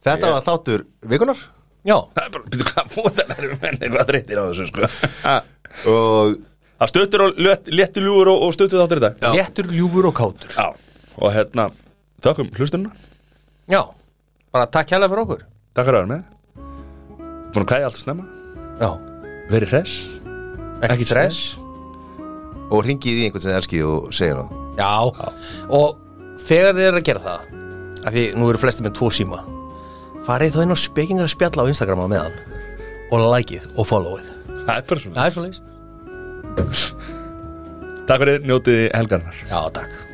Speaker 1: Þetta var þáttur vikunar
Speaker 2: Já,
Speaker 3: Það er bara, býttu hvað mótan erum við menn eitthvað þreyttir á þessu sko Það
Speaker 1: Og
Speaker 3: stöttur og létt, léttur ljúur og, og stöttur þáttur þetta
Speaker 2: léttur, ljúfur og kátur
Speaker 3: Já, og hérna, þökkum hlustununa
Speaker 2: Já, bara takk hérlega fyrir okkur
Speaker 3: Takk fyrir að vera með Búin að kæja allt og snemma
Speaker 2: Já,
Speaker 3: Verið hress
Speaker 2: ekki stress
Speaker 1: og ringið í einhvern sem elskið og segja það
Speaker 2: Já, og þegar þið eru að gera það af því nú eru flesti með tvo síma farið þá inn á spekinga spjalla á Instagrama meðan og likeið og followið
Speaker 3: Það er bara svona
Speaker 2: Það er svo leys
Speaker 3: Takk fyrir, njótið helgarnar
Speaker 2: Já, takk